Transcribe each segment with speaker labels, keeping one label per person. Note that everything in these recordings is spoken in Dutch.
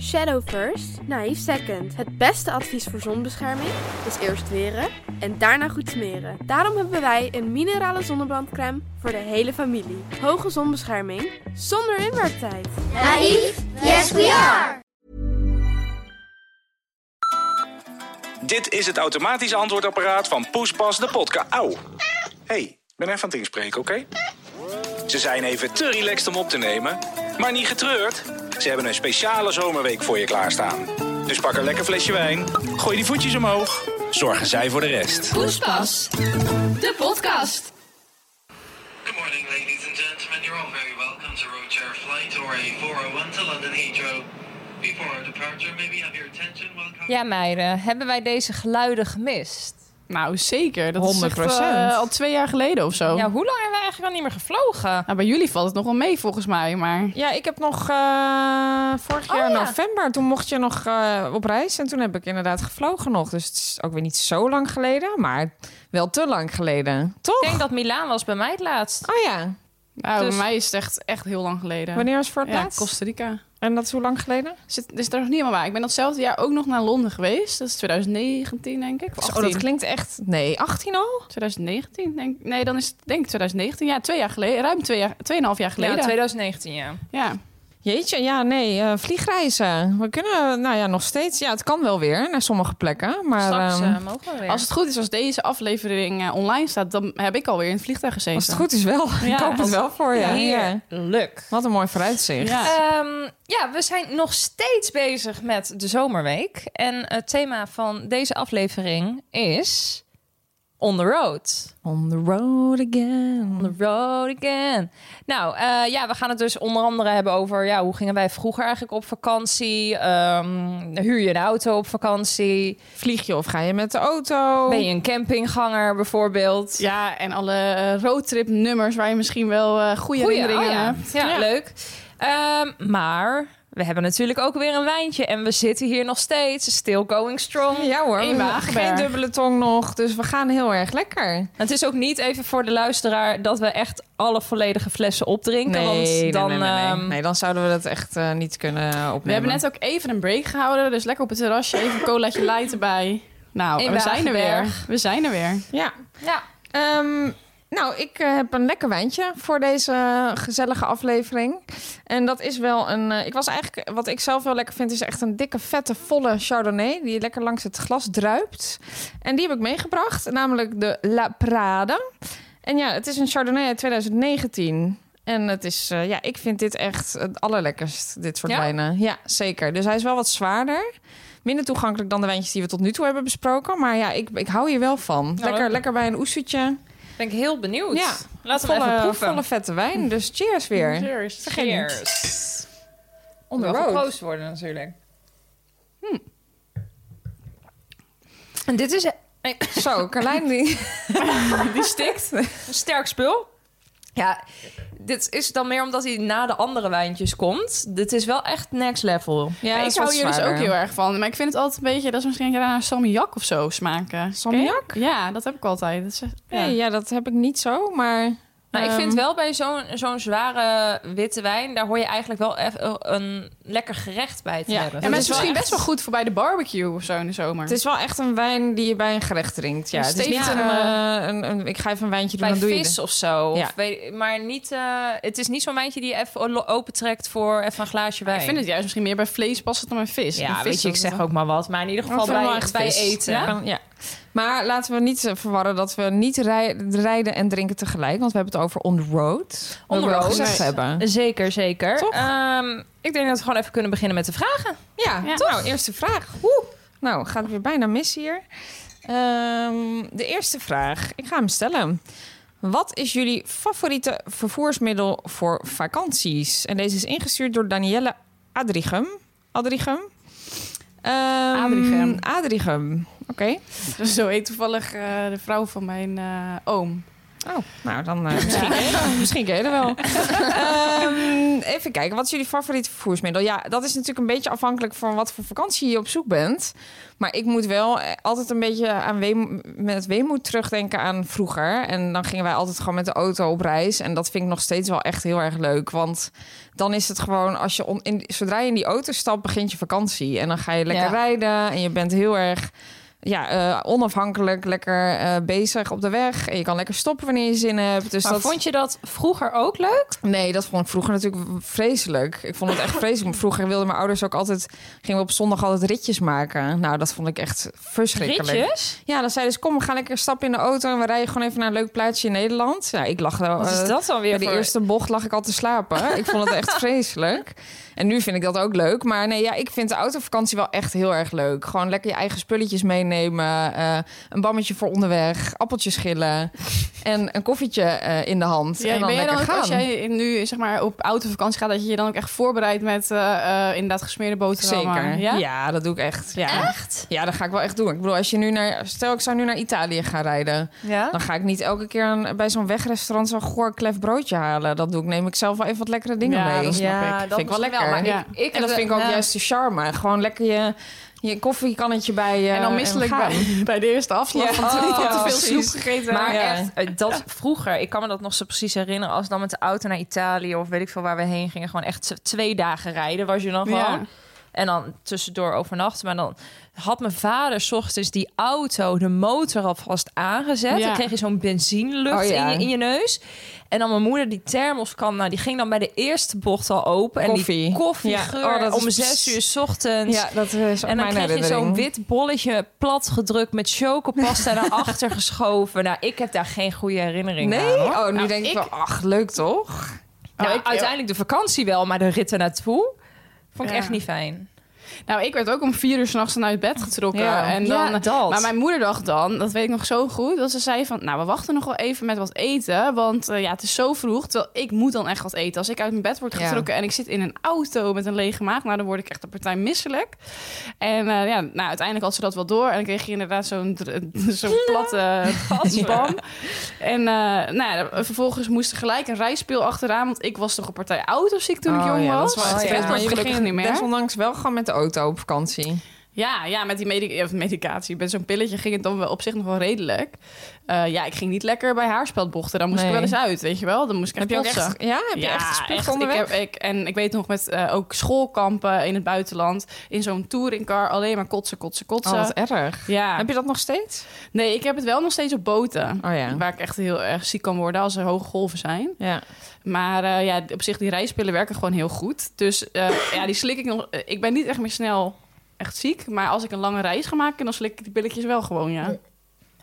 Speaker 1: Shadow first, naïef second. Het beste advies voor zonbescherming is eerst weren en daarna goed smeren. Daarom hebben wij een minerale zonnebrandcrème voor de hele familie. Hoge zonbescherming zonder inwerktijd.
Speaker 2: Naïef? Yes, we are!
Speaker 3: Dit is het automatische antwoordapparaat van Poespas de podcast. Auw. hey, ik ben even aan het inspreken, oké? Ze zijn even te relaxed om op te nemen. Maar niet getreurd. Ze hebben een speciale zomerweek voor je klaarstaan. Dus pak een lekker flesje wijn. Gooi die voetjes omhoog. Zorgen zij voor de rest.
Speaker 4: Poespas, de podcast.
Speaker 5: Good morning, ladies and gentlemen. You're all very welcome to Roadshare Flight RA401 to London Heathrow. Before our departure, may we have your attention while...
Speaker 6: Ja, meiden, hebben wij deze geluiden gemist?
Speaker 7: Nou, zeker. Dat is echt,
Speaker 6: 100%.
Speaker 7: eh, al twee jaar geleden of zo.
Speaker 6: Ja, hoe lang hebben we eigenlijk al niet meer gevlogen?
Speaker 7: Nou, bij jullie valt het nog wel mee volgens mij, maar...
Speaker 8: Ja, ik heb nog eh, vorig
Speaker 6: Oh,
Speaker 8: jaar
Speaker 6: ja.
Speaker 8: november. Toen mocht je nog eh, op reis. En toen heb ik inderdaad gevlogen nog. Dus het is ook weer niet zo lang geleden. Maar wel te lang geleden. Toch?
Speaker 6: Ik denk dat Milaan was bij mij het laatst.
Speaker 8: Oh ja.
Speaker 7: Nou,
Speaker 8: Dus-
Speaker 7: bij mij is het echt, echt heel lang geleden.
Speaker 8: Wanneer was het voor het
Speaker 7: Ja,
Speaker 8: laatst?
Speaker 7: Costa Rica.
Speaker 8: En dat is hoe lang geleden?
Speaker 7: Zit, is daar nog niet helemaal waar. Ik ben datzelfde jaar ook nog naar Londen geweest. Dat is 2019, denk ik. Of
Speaker 8: Zo,
Speaker 7: 18.
Speaker 8: Oh, dat klinkt echt... Nee, 18 al?
Speaker 7: 2019, denk Nee, dan is het denk ik 2019. Ja, twee jaar geleden. Ruim twee jaar, tweeënhalf jaar
Speaker 6: Ja,
Speaker 7: geleden.
Speaker 6: 2019, ja.
Speaker 7: Ja.
Speaker 8: Jeetje, ja, nee. eh, vliegreizen. We kunnen, nou ja, nog steeds. Ja, het kan wel weer naar sommige plekken. Maar
Speaker 6: Straks
Speaker 8: ehm,
Speaker 6: eh, mogen we weer.
Speaker 7: Als het goed is, als deze aflevering eh, online staat, dan heb ik alweer in het vliegtuig gezeten.
Speaker 8: als het goed is wel. ik hoop het wel voor je. Ja.
Speaker 6: Heerlijk.
Speaker 8: Wat een mooi vooruitzicht.
Speaker 7: Ja.
Speaker 6: Ehm, ja, we zijn nog steeds bezig met de zomerweek. En het thema van deze aflevering is... On the road.
Speaker 8: On the road again.
Speaker 6: On the road again. Nou, eh, ja, we gaan het dus onder andere hebben over... Ja, hoe gingen wij vroeger eigenlijk op vakantie? Ehm, huur je een auto op vakantie?
Speaker 8: Vlieg je of ga je met de auto?
Speaker 6: Ben je een campingganger bijvoorbeeld?
Speaker 7: Ja, en alle eh, roadtrip-nummers waar je misschien wel eh goede
Speaker 6: Goeie, oh
Speaker 7: herinneringen aan
Speaker 6: ja.
Speaker 7: hebt.
Speaker 6: Ja, leuk. Ehm, maar we hebben natuurlijk ook weer een wijntje. En we zitten hier nog steeds. Still going strong.
Speaker 8: Ja hoor,
Speaker 7: Eén
Speaker 8: we-
Speaker 7: Wagenberg.
Speaker 8: geen dubbele tong nog, dus we gaan heel erg lekker.
Speaker 6: Het is ook niet even voor de luisteraar dat we echt alle volledige flessen opdrinken. want dan.
Speaker 8: nee, nee, nee.
Speaker 6: ehm,
Speaker 8: Nee, dan zouden we dat echt eh, niet kunnen opnemen.
Speaker 7: We hebben net ook even een break gehouden, dus lekker op het terrasje, even een colaatje light erbij. Nou,
Speaker 6: In
Speaker 7: we zijn er weer.
Speaker 6: Wagenberg.
Speaker 7: We zijn er weer.
Speaker 8: Ja.
Speaker 6: Ja.
Speaker 8: Ehm, nou, ik eh, heb een lekker wijntje voor deze eh, gezellige aflevering. En dat is wel een... eh, ik was eigenlijk... Wat ik zelf wel lekker vind, is echt een dikke, vette, volle Chardonnay... die lekker langs het glas druipt. En die heb ik meegebracht, namelijk de La Prade. En ja, het is een Chardonnay uit 2019... En het is, eh, ja, ik vind dit echt het allerlekkerst, dit soort
Speaker 6: Ja?
Speaker 8: wijnen. Ja, zeker. Dus hij is wel wat zwaarder. Minder toegankelijk dan de wijntjes die we tot nu toe hebben besproken. Maar ja, ik, ik hou hier wel van. Lekker,
Speaker 6: leuk.
Speaker 8: lekker bij een oesetje.
Speaker 6: Ben ik heel benieuwd.
Speaker 8: Ja.
Speaker 6: Laten we hem even
Speaker 8: Volle,
Speaker 6: proeven.
Speaker 8: volle vette wijn. Dus cheers weer.
Speaker 7: Cheers.
Speaker 8: Vergeet niet.
Speaker 6: Cheers.
Speaker 8: On the
Speaker 6: Wel
Speaker 8: road.
Speaker 6: geproost worden natuurlijk. En dit is een
Speaker 8: Zo, Carlijn die...
Speaker 7: Die stikt.
Speaker 6: een sterk spul. Ja, dit is dan meer omdat hij na de andere wijntjes komt. Dit is wel echt next level.
Speaker 8: Ja,
Speaker 7: ik hou hier dus ook heel erg van. Maar ik vind het altijd een beetje, dat is misschien naar salmiak of zo smaken.
Speaker 8: Salmiak?
Speaker 7: Ja, dat heb ik altijd. Dat is, ja.
Speaker 8: Nee, ja, dat heb ik niet zo, maar...
Speaker 6: Maar ik
Speaker 8: Ehm,
Speaker 6: vind wel bij zo'n zo'n zware witte wijn... daar hoor je eigenlijk wel even een lekker gerecht bij te
Speaker 8: Ja.
Speaker 6: hebben.
Speaker 7: En
Speaker 8: het
Speaker 7: het is
Speaker 8: is wel
Speaker 7: misschien
Speaker 8: echt-
Speaker 7: best wel goed voor bij de barbecue of zo in de zomer.
Speaker 8: Het is wel echt een wijn die je bij een gerecht drinkt. Ja,
Speaker 7: Een
Speaker 8: het is niet een,
Speaker 7: stevige-
Speaker 8: eh, een, een- Ik ga even een wijntje doen,
Speaker 6: bij
Speaker 8: dan doe
Speaker 6: vis
Speaker 8: je...
Speaker 6: of zo.
Speaker 8: Ja.
Speaker 6: Of weet- maar niet, eh, het is niet zo'n wijntje die je even lo- opentrekt voor even een glaasje wijn.
Speaker 7: ik vind het juist misschien meer bij vlees passen dan bij vis.
Speaker 6: ja,
Speaker 7: Bij vis
Speaker 6: weet je, ik
Speaker 7: is
Speaker 6: zeg
Speaker 7: het-
Speaker 6: ook maar wat. Maar in ieder
Speaker 8: Ik
Speaker 6: geval
Speaker 8: vind wel
Speaker 6: bij,
Speaker 8: echt
Speaker 6: bij
Speaker 8: Oh, vis.
Speaker 6: eten.
Speaker 8: Ja? ja. Maar laten we niet eh, verwarren dat we niet rij- rijden en drinken tegelijk. Want we hebben het over on the road.
Speaker 6: On the
Speaker 8: Wat we al
Speaker 6: road.
Speaker 8: gezegd
Speaker 6: Nee.
Speaker 8: hebben.
Speaker 6: Zeker, zeker.
Speaker 8: Toch?
Speaker 6: Ehm, ik denk dat we gewoon even kunnen beginnen met de vragen.
Speaker 8: Ja,
Speaker 7: Ja.
Speaker 8: nou, eerste vraag. Oeh, nou, gaat het weer bijna mis hier. Ehm, de eerste vraag, ik ga hem stellen. Wat is jullie favoriete vervoersmiddel voor vakanties? En deze is ingestuurd door Danielle Adrichem. Adrichem? Ehm,
Speaker 7: Adrichem.
Speaker 8: Adrichem, oké.
Speaker 7: Zo heet toevallig eh, de vrouw van mijn eh, oom.
Speaker 8: Oh, nou dan eh, misschien,
Speaker 6: dus
Speaker 8: kelen, misschien kelen wel. Ehm, even kijken, wat is jullie favoriete vervoersmiddel? Ja, dat is natuurlijk een beetje afhankelijk van wat voor vakantie je op zoek bent. Maar ik moet wel eh, altijd een beetje aan weem, met weemoed terugdenken aan vroeger. En dan gingen wij altijd gewoon met de auto op reis. En dat vind ik nog steeds wel echt heel erg leuk. Want dan is het gewoon, als je on- in, zodra je in die auto stapt, begint je vakantie. En dan ga je lekker
Speaker 6: Ja.
Speaker 8: rijden en je bent heel erg ja, eh, onafhankelijk, lekker eh, bezig op de weg. En je kan lekker stoppen wanneer je zin hebt. Dus
Speaker 6: Maar
Speaker 8: dat...
Speaker 6: vond je dat vroeger ook leuk?
Speaker 8: Nee, dat vond ik vroeger natuurlijk vreselijk. Ik vond het echt vreselijk. Vroeger wilden mijn ouders ook altijd... gingen we op zondag altijd ritjes maken. Nou, dat vond ik echt verschrikkelijk.
Speaker 6: Ritjes?
Speaker 8: Ja, dan zeiden ze, kom, we gaan lekker stappen in de auto... en we rijden gewoon even naar een leuk plaatsje in Nederland. Ja, ik lag wel...
Speaker 6: Wat is
Speaker 8: eh,
Speaker 6: dat dan weer
Speaker 8: bij de
Speaker 6: voor...
Speaker 8: eerste bocht lag ik al te slapen. Ik vond het echt vreselijk. En nu vind ik dat ook leuk. Maar nee, ja, ik vind de autovakantie wel echt heel erg leuk. Gewoon lekker je eigen spulletjes meenemen. eh, een bammetje voor onderweg. Appeltjes schillen. En een koffietje eh, in de hand.
Speaker 7: Ja,
Speaker 8: en dan
Speaker 7: ben jij
Speaker 8: lekker
Speaker 7: dan ook,
Speaker 8: gaan.
Speaker 7: als jij nu zeg maar, op autovakantie gaat, dat je je dan ook echt voorbereidt met eh, eh, inderdaad gesmeerde boterhammen?
Speaker 8: Zeker.
Speaker 7: Ja?
Speaker 8: Ja? dat doe ik echt. Ja.
Speaker 6: Echt?
Speaker 8: ja, dat ga ik wel echt doen. Ik bedoel, als je nu naar, stel ik zou nu naar Italië gaan rijden,
Speaker 6: Ja?
Speaker 8: dan ga ik niet elke keer een- bij zo'n wegrestaurant zo'n goor klef broodje halen. Dat doe ik. Neem ik zelf wel even wat lekkere dingen
Speaker 7: Ja,
Speaker 8: mee.
Speaker 7: dat snap ik.
Speaker 8: Vind ik wel
Speaker 6: misschien
Speaker 8: lekker.
Speaker 6: maar
Speaker 7: Ja.
Speaker 6: ik- ik
Speaker 8: en dat
Speaker 6: heb-
Speaker 8: vind ik ook
Speaker 6: ja.
Speaker 8: juist de charme. Gewoon lekker je, je koffiekannetje bij je.
Speaker 7: En dan misselijk
Speaker 8: gaan.
Speaker 7: bij, bij de eerste afslag
Speaker 8: eh, Ja.
Speaker 7: van te,
Speaker 8: Oh,
Speaker 7: van te
Speaker 8: ja,
Speaker 7: veel
Speaker 8: precies.
Speaker 7: snoep gegeten.
Speaker 6: Maar
Speaker 8: Ja.
Speaker 6: echt, eh, dat vroeger, ik kan me dat nog zo precies herinneren, als we dan met de auto naar Italië of weet ik veel waar we heen gingen, gewoon echt z- twee dagen rijden was je dan gewoon.
Speaker 7: Ja.
Speaker 6: En dan tussendoor overnachten. Maar dan had mijn vader 's ochtends die auto, de motor alvast aangezet.
Speaker 7: Ja.
Speaker 6: Dan kreeg je zo'n benzinelucht
Speaker 8: Oh, ja.
Speaker 6: in, je, in je neus. En dan mijn moeder die thermoskan, nou, die ging dan bij de eerste bocht al open. En
Speaker 8: Koffie.
Speaker 6: die koffiegeur
Speaker 8: Ja. Oh, dat is
Speaker 6: om zes uur 's ochtends.
Speaker 8: Ja, dat is ook
Speaker 6: En dan
Speaker 8: mijn
Speaker 6: krijg je
Speaker 8: herinnering.
Speaker 6: zo'n wit bolletje plat gedrukt met chocopasta naar achter geschoven. Nou, ik heb daar geen goede herinnering aan.
Speaker 8: Nee?
Speaker 6: hoor.
Speaker 8: Oh, nu
Speaker 7: Nou,
Speaker 8: denk ik
Speaker 7: ik-
Speaker 8: wel, ach, leuk toch?
Speaker 6: Nou,
Speaker 7: ik-
Speaker 6: uiteindelijk de vakantie wel, maar de ritten naartoe vond ik
Speaker 7: Ja.
Speaker 6: echt niet fijn.
Speaker 7: Nou, ik werd ook om vier uur s'nachts uit bed getrokken.
Speaker 6: Ja.
Speaker 7: En
Speaker 6: Ja,
Speaker 7: dan,
Speaker 6: dat.
Speaker 7: Maar mijn moeder dacht dan, dat weet ik nog zo goed, dat ze zei van... nou, we wachten nog wel even met wat eten, want eh, ja, het is zo vroeg. Terwijl ik moet dan echt wat eten. Als ik uit mijn bed word
Speaker 8: Ja.
Speaker 7: getrokken en ik zit in een auto met een lege maag... nou, dan word ik echt een partij misselijk. En eh, ja, nou, uiteindelijk had ze dat wel door. En dan kreeg je inderdaad zo'n dr- zo'n platte gasbam. En eh, nou, ja, vervolgens moest er gelijk een rijspeel achteraan... want ik was toch een partij autoziek toen ik
Speaker 8: Oh,
Speaker 7: jong
Speaker 8: ja,
Speaker 7: was. Dus
Speaker 6: Oh,
Speaker 8: Dat is wel echt
Speaker 6: ja.
Speaker 8: vet, maar
Speaker 7: Dat
Speaker 8: jullie
Speaker 7: gelukkig
Speaker 8: gingen
Speaker 7: niet meer.
Speaker 8: desondanks wel gewoon met de auto op vakantie.
Speaker 7: Ja, ja met die medi- of medicatie. Met zo'n pilletje ging het dan wel op zich nog wel redelijk. Eh, ja, ik ging niet lekker bij haarspeldbochten. Daar moest
Speaker 8: Nee.
Speaker 7: ik wel eens uit, weet je wel. Dan moest ik
Speaker 8: Heb je ook
Speaker 7: kotsen.
Speaker 8: echt, ja, heb je
Speaker 7: ja,
Speaker 8: echt gespuugd
Speaker 7: echt.
Speaker 8: onderweg?
Speaker 7: Ik heb, ik, en ik weet nog met eh, ook schoolkampen in het buitenland. In zo'n touringcar alleen maar kotsen, kotsen,
Speaker 8: Oh,
Speaker 7: kotsen.
Speaker 8: wat erg.
Speaker 7: ja.
Speaker 8: Heb je dat nog steeds?
Speaker 7: Nee, ik heb het wel nog steeds op boten.
Speaker 8: Oh ja.
Speaker 7: Waar ik echt heel erg ziek kan worden als er hoge golven zijn.
Speaker 8: Ja.
Speaker 7: Maar eh, ja, op zich, die rijspillen werken gewoon heel goed. Dus eh, ja, die slik ik nog. Ik ben niet echt meer snel echt ziek. Maar als ik een lange reis ga maken, dan slik ik die pilletjes wel gewoon, ja.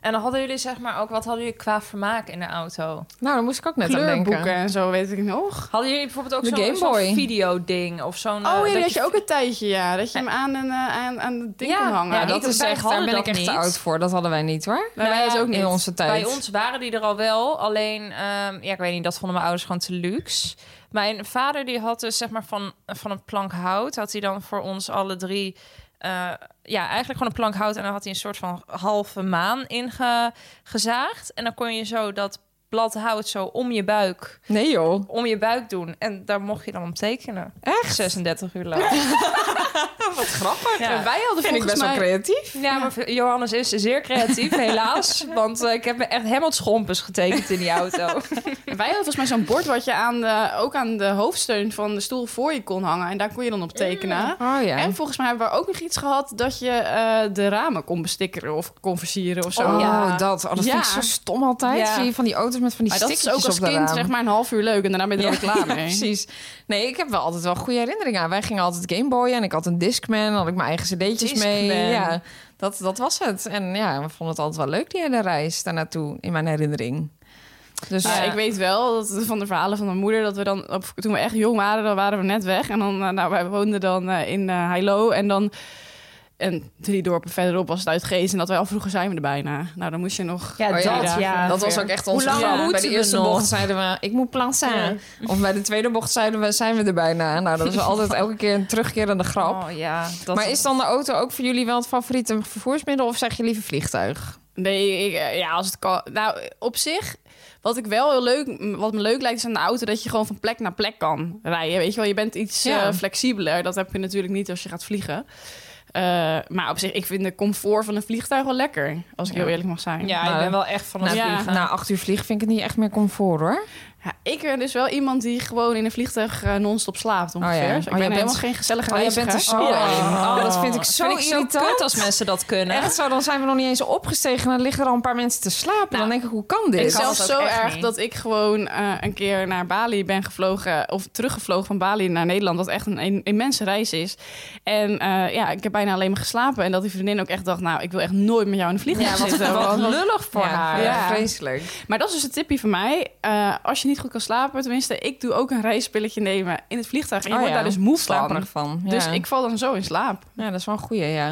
Speaker 6: En dan hadden jullie zeg maar ook, wat hadden jullie qua vermaak in de auto?
Speaker 8: Nou, daar moest ik ook net aan denken.
Speaker 7: Kleurboeken en zo, weet ik nog.
Speaker 6: Hadden jullie bijvoorbeeld ook
Speaker 8: De
Speaker 6: zo'n
Speaker 8: Game
Speaker 6: zo'n
Speaker 8: Boy.
Speaker 6: videoding of zo'n... eh,
Speaker 7: oh
Speaker 6: dat
Speaker 7: ja, die had
Speaker 6: je-
Speaker 7: je ook een tijdje, ja. Dat je hem aan een, eh, aan, aan het ding
Speaker 6: Ja,
Speaker 7: kon hangen.
Speaker 8: Ja,
Speaker 6: Ja,
Speaker 8: dat
Speaker 6: ik-
Speaker 8: is
Speaker 6: wij
Speaker 8: echt, daar
Speaker 6: hadden
Speaker 8: ben ik
Speaker 6: dat
Speaker 8: echt te
Speaker 6: niet.
Speaker 8: oud voor. Dat hadden wij niet, hoor.
Speaker 7: Bij mij
Speaker 6: Nou
Speaker 7: is
Speaker 6: ja,
Speaker 7: ook niet.
Speaker 8: In onze tijd.
Speaker 6: Bij ons waren die er al wel. Alleen, ehm, ja, ik weet niet, dat vonden mijn ouders gewoon te luxe. Mijn vader die had dus zeg maar van, van een plank hout, had hij dan voor ons alle drie. eh, ja, eigenlijk gewoon een plank hout. En dan had hij een soort van halve maan ingezaagd. En dan kon je zo dat blad hout zo om je buik,
Speaker 8: Nee, joh.
Speaker 6: om je buik doen. En daar mocht je dan om tekenen.
Speaker 8: Echt?
Speaker 6: 36 uur lang.
Speaker 8: Wat grappig.
Speaker 6: Ja.
Speaker 7: En wij hadden
Speaker 8: Vind ik
Speaker 7: volgens
Speaker 8: best wel
Speaker 7: mij...
Speaker 8: creatief.
Speaker 6: Ja, maar Johannes is zeer creatief, helaas. Want eh, ik heb me echt helemaal schompens getekend in die auto.
Speaker 7: wij hadden volgens mij zo'n bord wat je aan de, ook aan de hoofdsteun van de stoel voor je kon hangen. En daar kon je dan op tekenen.
Speaker 8: Oh ja.
Speaker 7: En volgens mij hebben we ook nog iets gehad dat je eh, de ramen kon bestikkeren of kon versieren of zo.
Speaker 8: Oh,
Speaker 6: ja.
Speaker 8: dat. Oh, dat vind ik
Speaker 7: Ja.
Speaker 8: zo stom altijd.
Speaker 6: Ja.
Speaker 8: Zie je van die auto's met van die
Speaker 7: Maar dat is
Speaker 8: stickertjes
Speaker 7: ook als
Speaker 8: op de
Speaker 7: kind
Speaker 8: raam.
Speaker 7: zeg maar een half uur leuk en daarna ben je er
Speaker 8: Ja,
Speaker 7: ook klaar mee.
Speaker 8: precies. Nee, ik heb wel altijd wel goede herinneringen aan. Wij gingen altijd Gameboyen en ik had een Discman. Dan had ik mijn eigen cd'tjes mee.
Speaker 6: Discman.
Speaker 8: Ja, dat, dat was het. En ja, we vonden het altijd wel leuk, die hele reis daar naartoe. In mijn herinnering. Dus
Speaker 7: Ja,
Speaker 8: ja,
Speaker 7: ik weet wel dat, van de verhalen van mijn moeder dat we dan, op, toen we echt jong waren, dan waren we net weg. En dan, eh, nou, wij woonden dan eh, in eh Heilo en dan... En drie dorpen verderop was het uit Geest en dat wij al vroeger zijn we er bijna. Nou, dan moest je nog...
Speaker 6: Ja,
Speaker 8: Oh ja,
Speaker 6: dat,
Speaker 7: ja.
Speaker 6: ja.
Speaker 8: dat was ook echt
Speaker 6: Hoe
Speaker 8: onze
Speaker 6: lang
Speaker 8: grap. Bij
Speaker 6: moeten
Speaker 8: de
Speaker 6: we
Speaker 8: eerste
Speaker 6: nog?
Speaker 8: bocht zeiden we, ik moet plansen. Of bij de tweede bocht zeiden we, zijn we er bijna. Nou, dat was altijd elke keer een terugkerende grap.
Speaker 6: Oh, ja, dat
Speaker 8: maar is dan de auto ook voor jullie wel het favoriete vervoersmiddel? Of zeg je liever vliegtuig?
Speaker 7: Nee, ik, eh, ja, als het kan... Nou, op zich, Wat ik wel heel leuk, wat me leuk lijkt is aan de auto dat je gewoon van plek naar plek kan rijden. Weet je wel, je bent iets
Speaker 6: Ja.
Speaker 7: eh, flexibeler. Dat heb je natuurlijk niet als je gaat vliegen. Eh, maar op zich, ik vind de comfort van een vliegtuig wel lekker. Als ik heel eerlijk mag zijn.
Speaker 6: Ja, ik
Speaker 8: Nou,
Speaker 6: ben wel echt van het
Speaker 7: nou,
Speaker 8: Na,
Speaker 7: ja,
Speaker 6: vliegen.
Speaker 8: na acht uur vliegen vind ik het niet echt meer comfort hoor.
Speaker 7: Ja, ik ben dus wel iemand die gewoon in een vliegtuig eh, non-stop slaapt ongeveer.
Speaker 8: Oh ja.
Speaker 7: Dus
Speaker 8: Oh,
Speaker 7: ik
Speaker 8: jij
Speaker 7: ben
Speaker 8: bent-
Speaker 7: helemaal geen gezellige
Speaker 6: Oh, je bent er
Speaker 7: reiziger.
Speaker 6: zo
Speaker 8: Oh,
Speaker 6: in.
Speaker 8: oh, dat vind ik zo
Speaker 6: vind ik
Speaker 8: irritant.
Speaker 6: zo kut als mensen dat kunnen.
Speaker 8: Echt zo, dan zijn we nog niet eens opgestegen en dan liggen er al een paar mensen te slapen. dan denk ik, hoe kan dit?
Speaker 6: ik
Speaker 7: Het is
Speaker 6: kan
Speaker 7: zelfs
Speaker 6: het
Speaker 7: zo
Speaker 6: ook echt
Speaker 7: erg
Speaker 6: niet.
Speaker 7: dat ik gewoon eh, een keer naar Bali ben gevlogen. Of teruggevlogen van Bali naar Nederland. Wat echt een, een immense reis is. En eh, ja, ik heb bijna alleen maar geslapen. En dat die vriendin ook echt dacht, nou, ik wil echt nooit met jou in de vliegtuig
Speaker 6: Ja, wat-
Speaker 7: zitten.
Speaker 6: wat
Speaker 7: want-
Speaker 6: lullig voor
Speaker 8: ja,
Speaker 6: haar.
Speaker 8: ja, vreselijk.
Speaker 7: Maar dat is dus een tipje van mij. Eh, als je niet goed kan slapen, tenminste, ik doe ook een reispilletje nemen in het vliegtuig. En je
Speaker 8: Oh
Speaker 7: wordt
Speaker 8: ja,
Speaker 7: daar dus moe
Speaker 8: slaperig
Speaker 7: van.
Speaker 8: van. Ja.
Speaker 7: Dus ik val dan zo in slaap.
Speaker 8: ja, dat is wel een goeie, ja.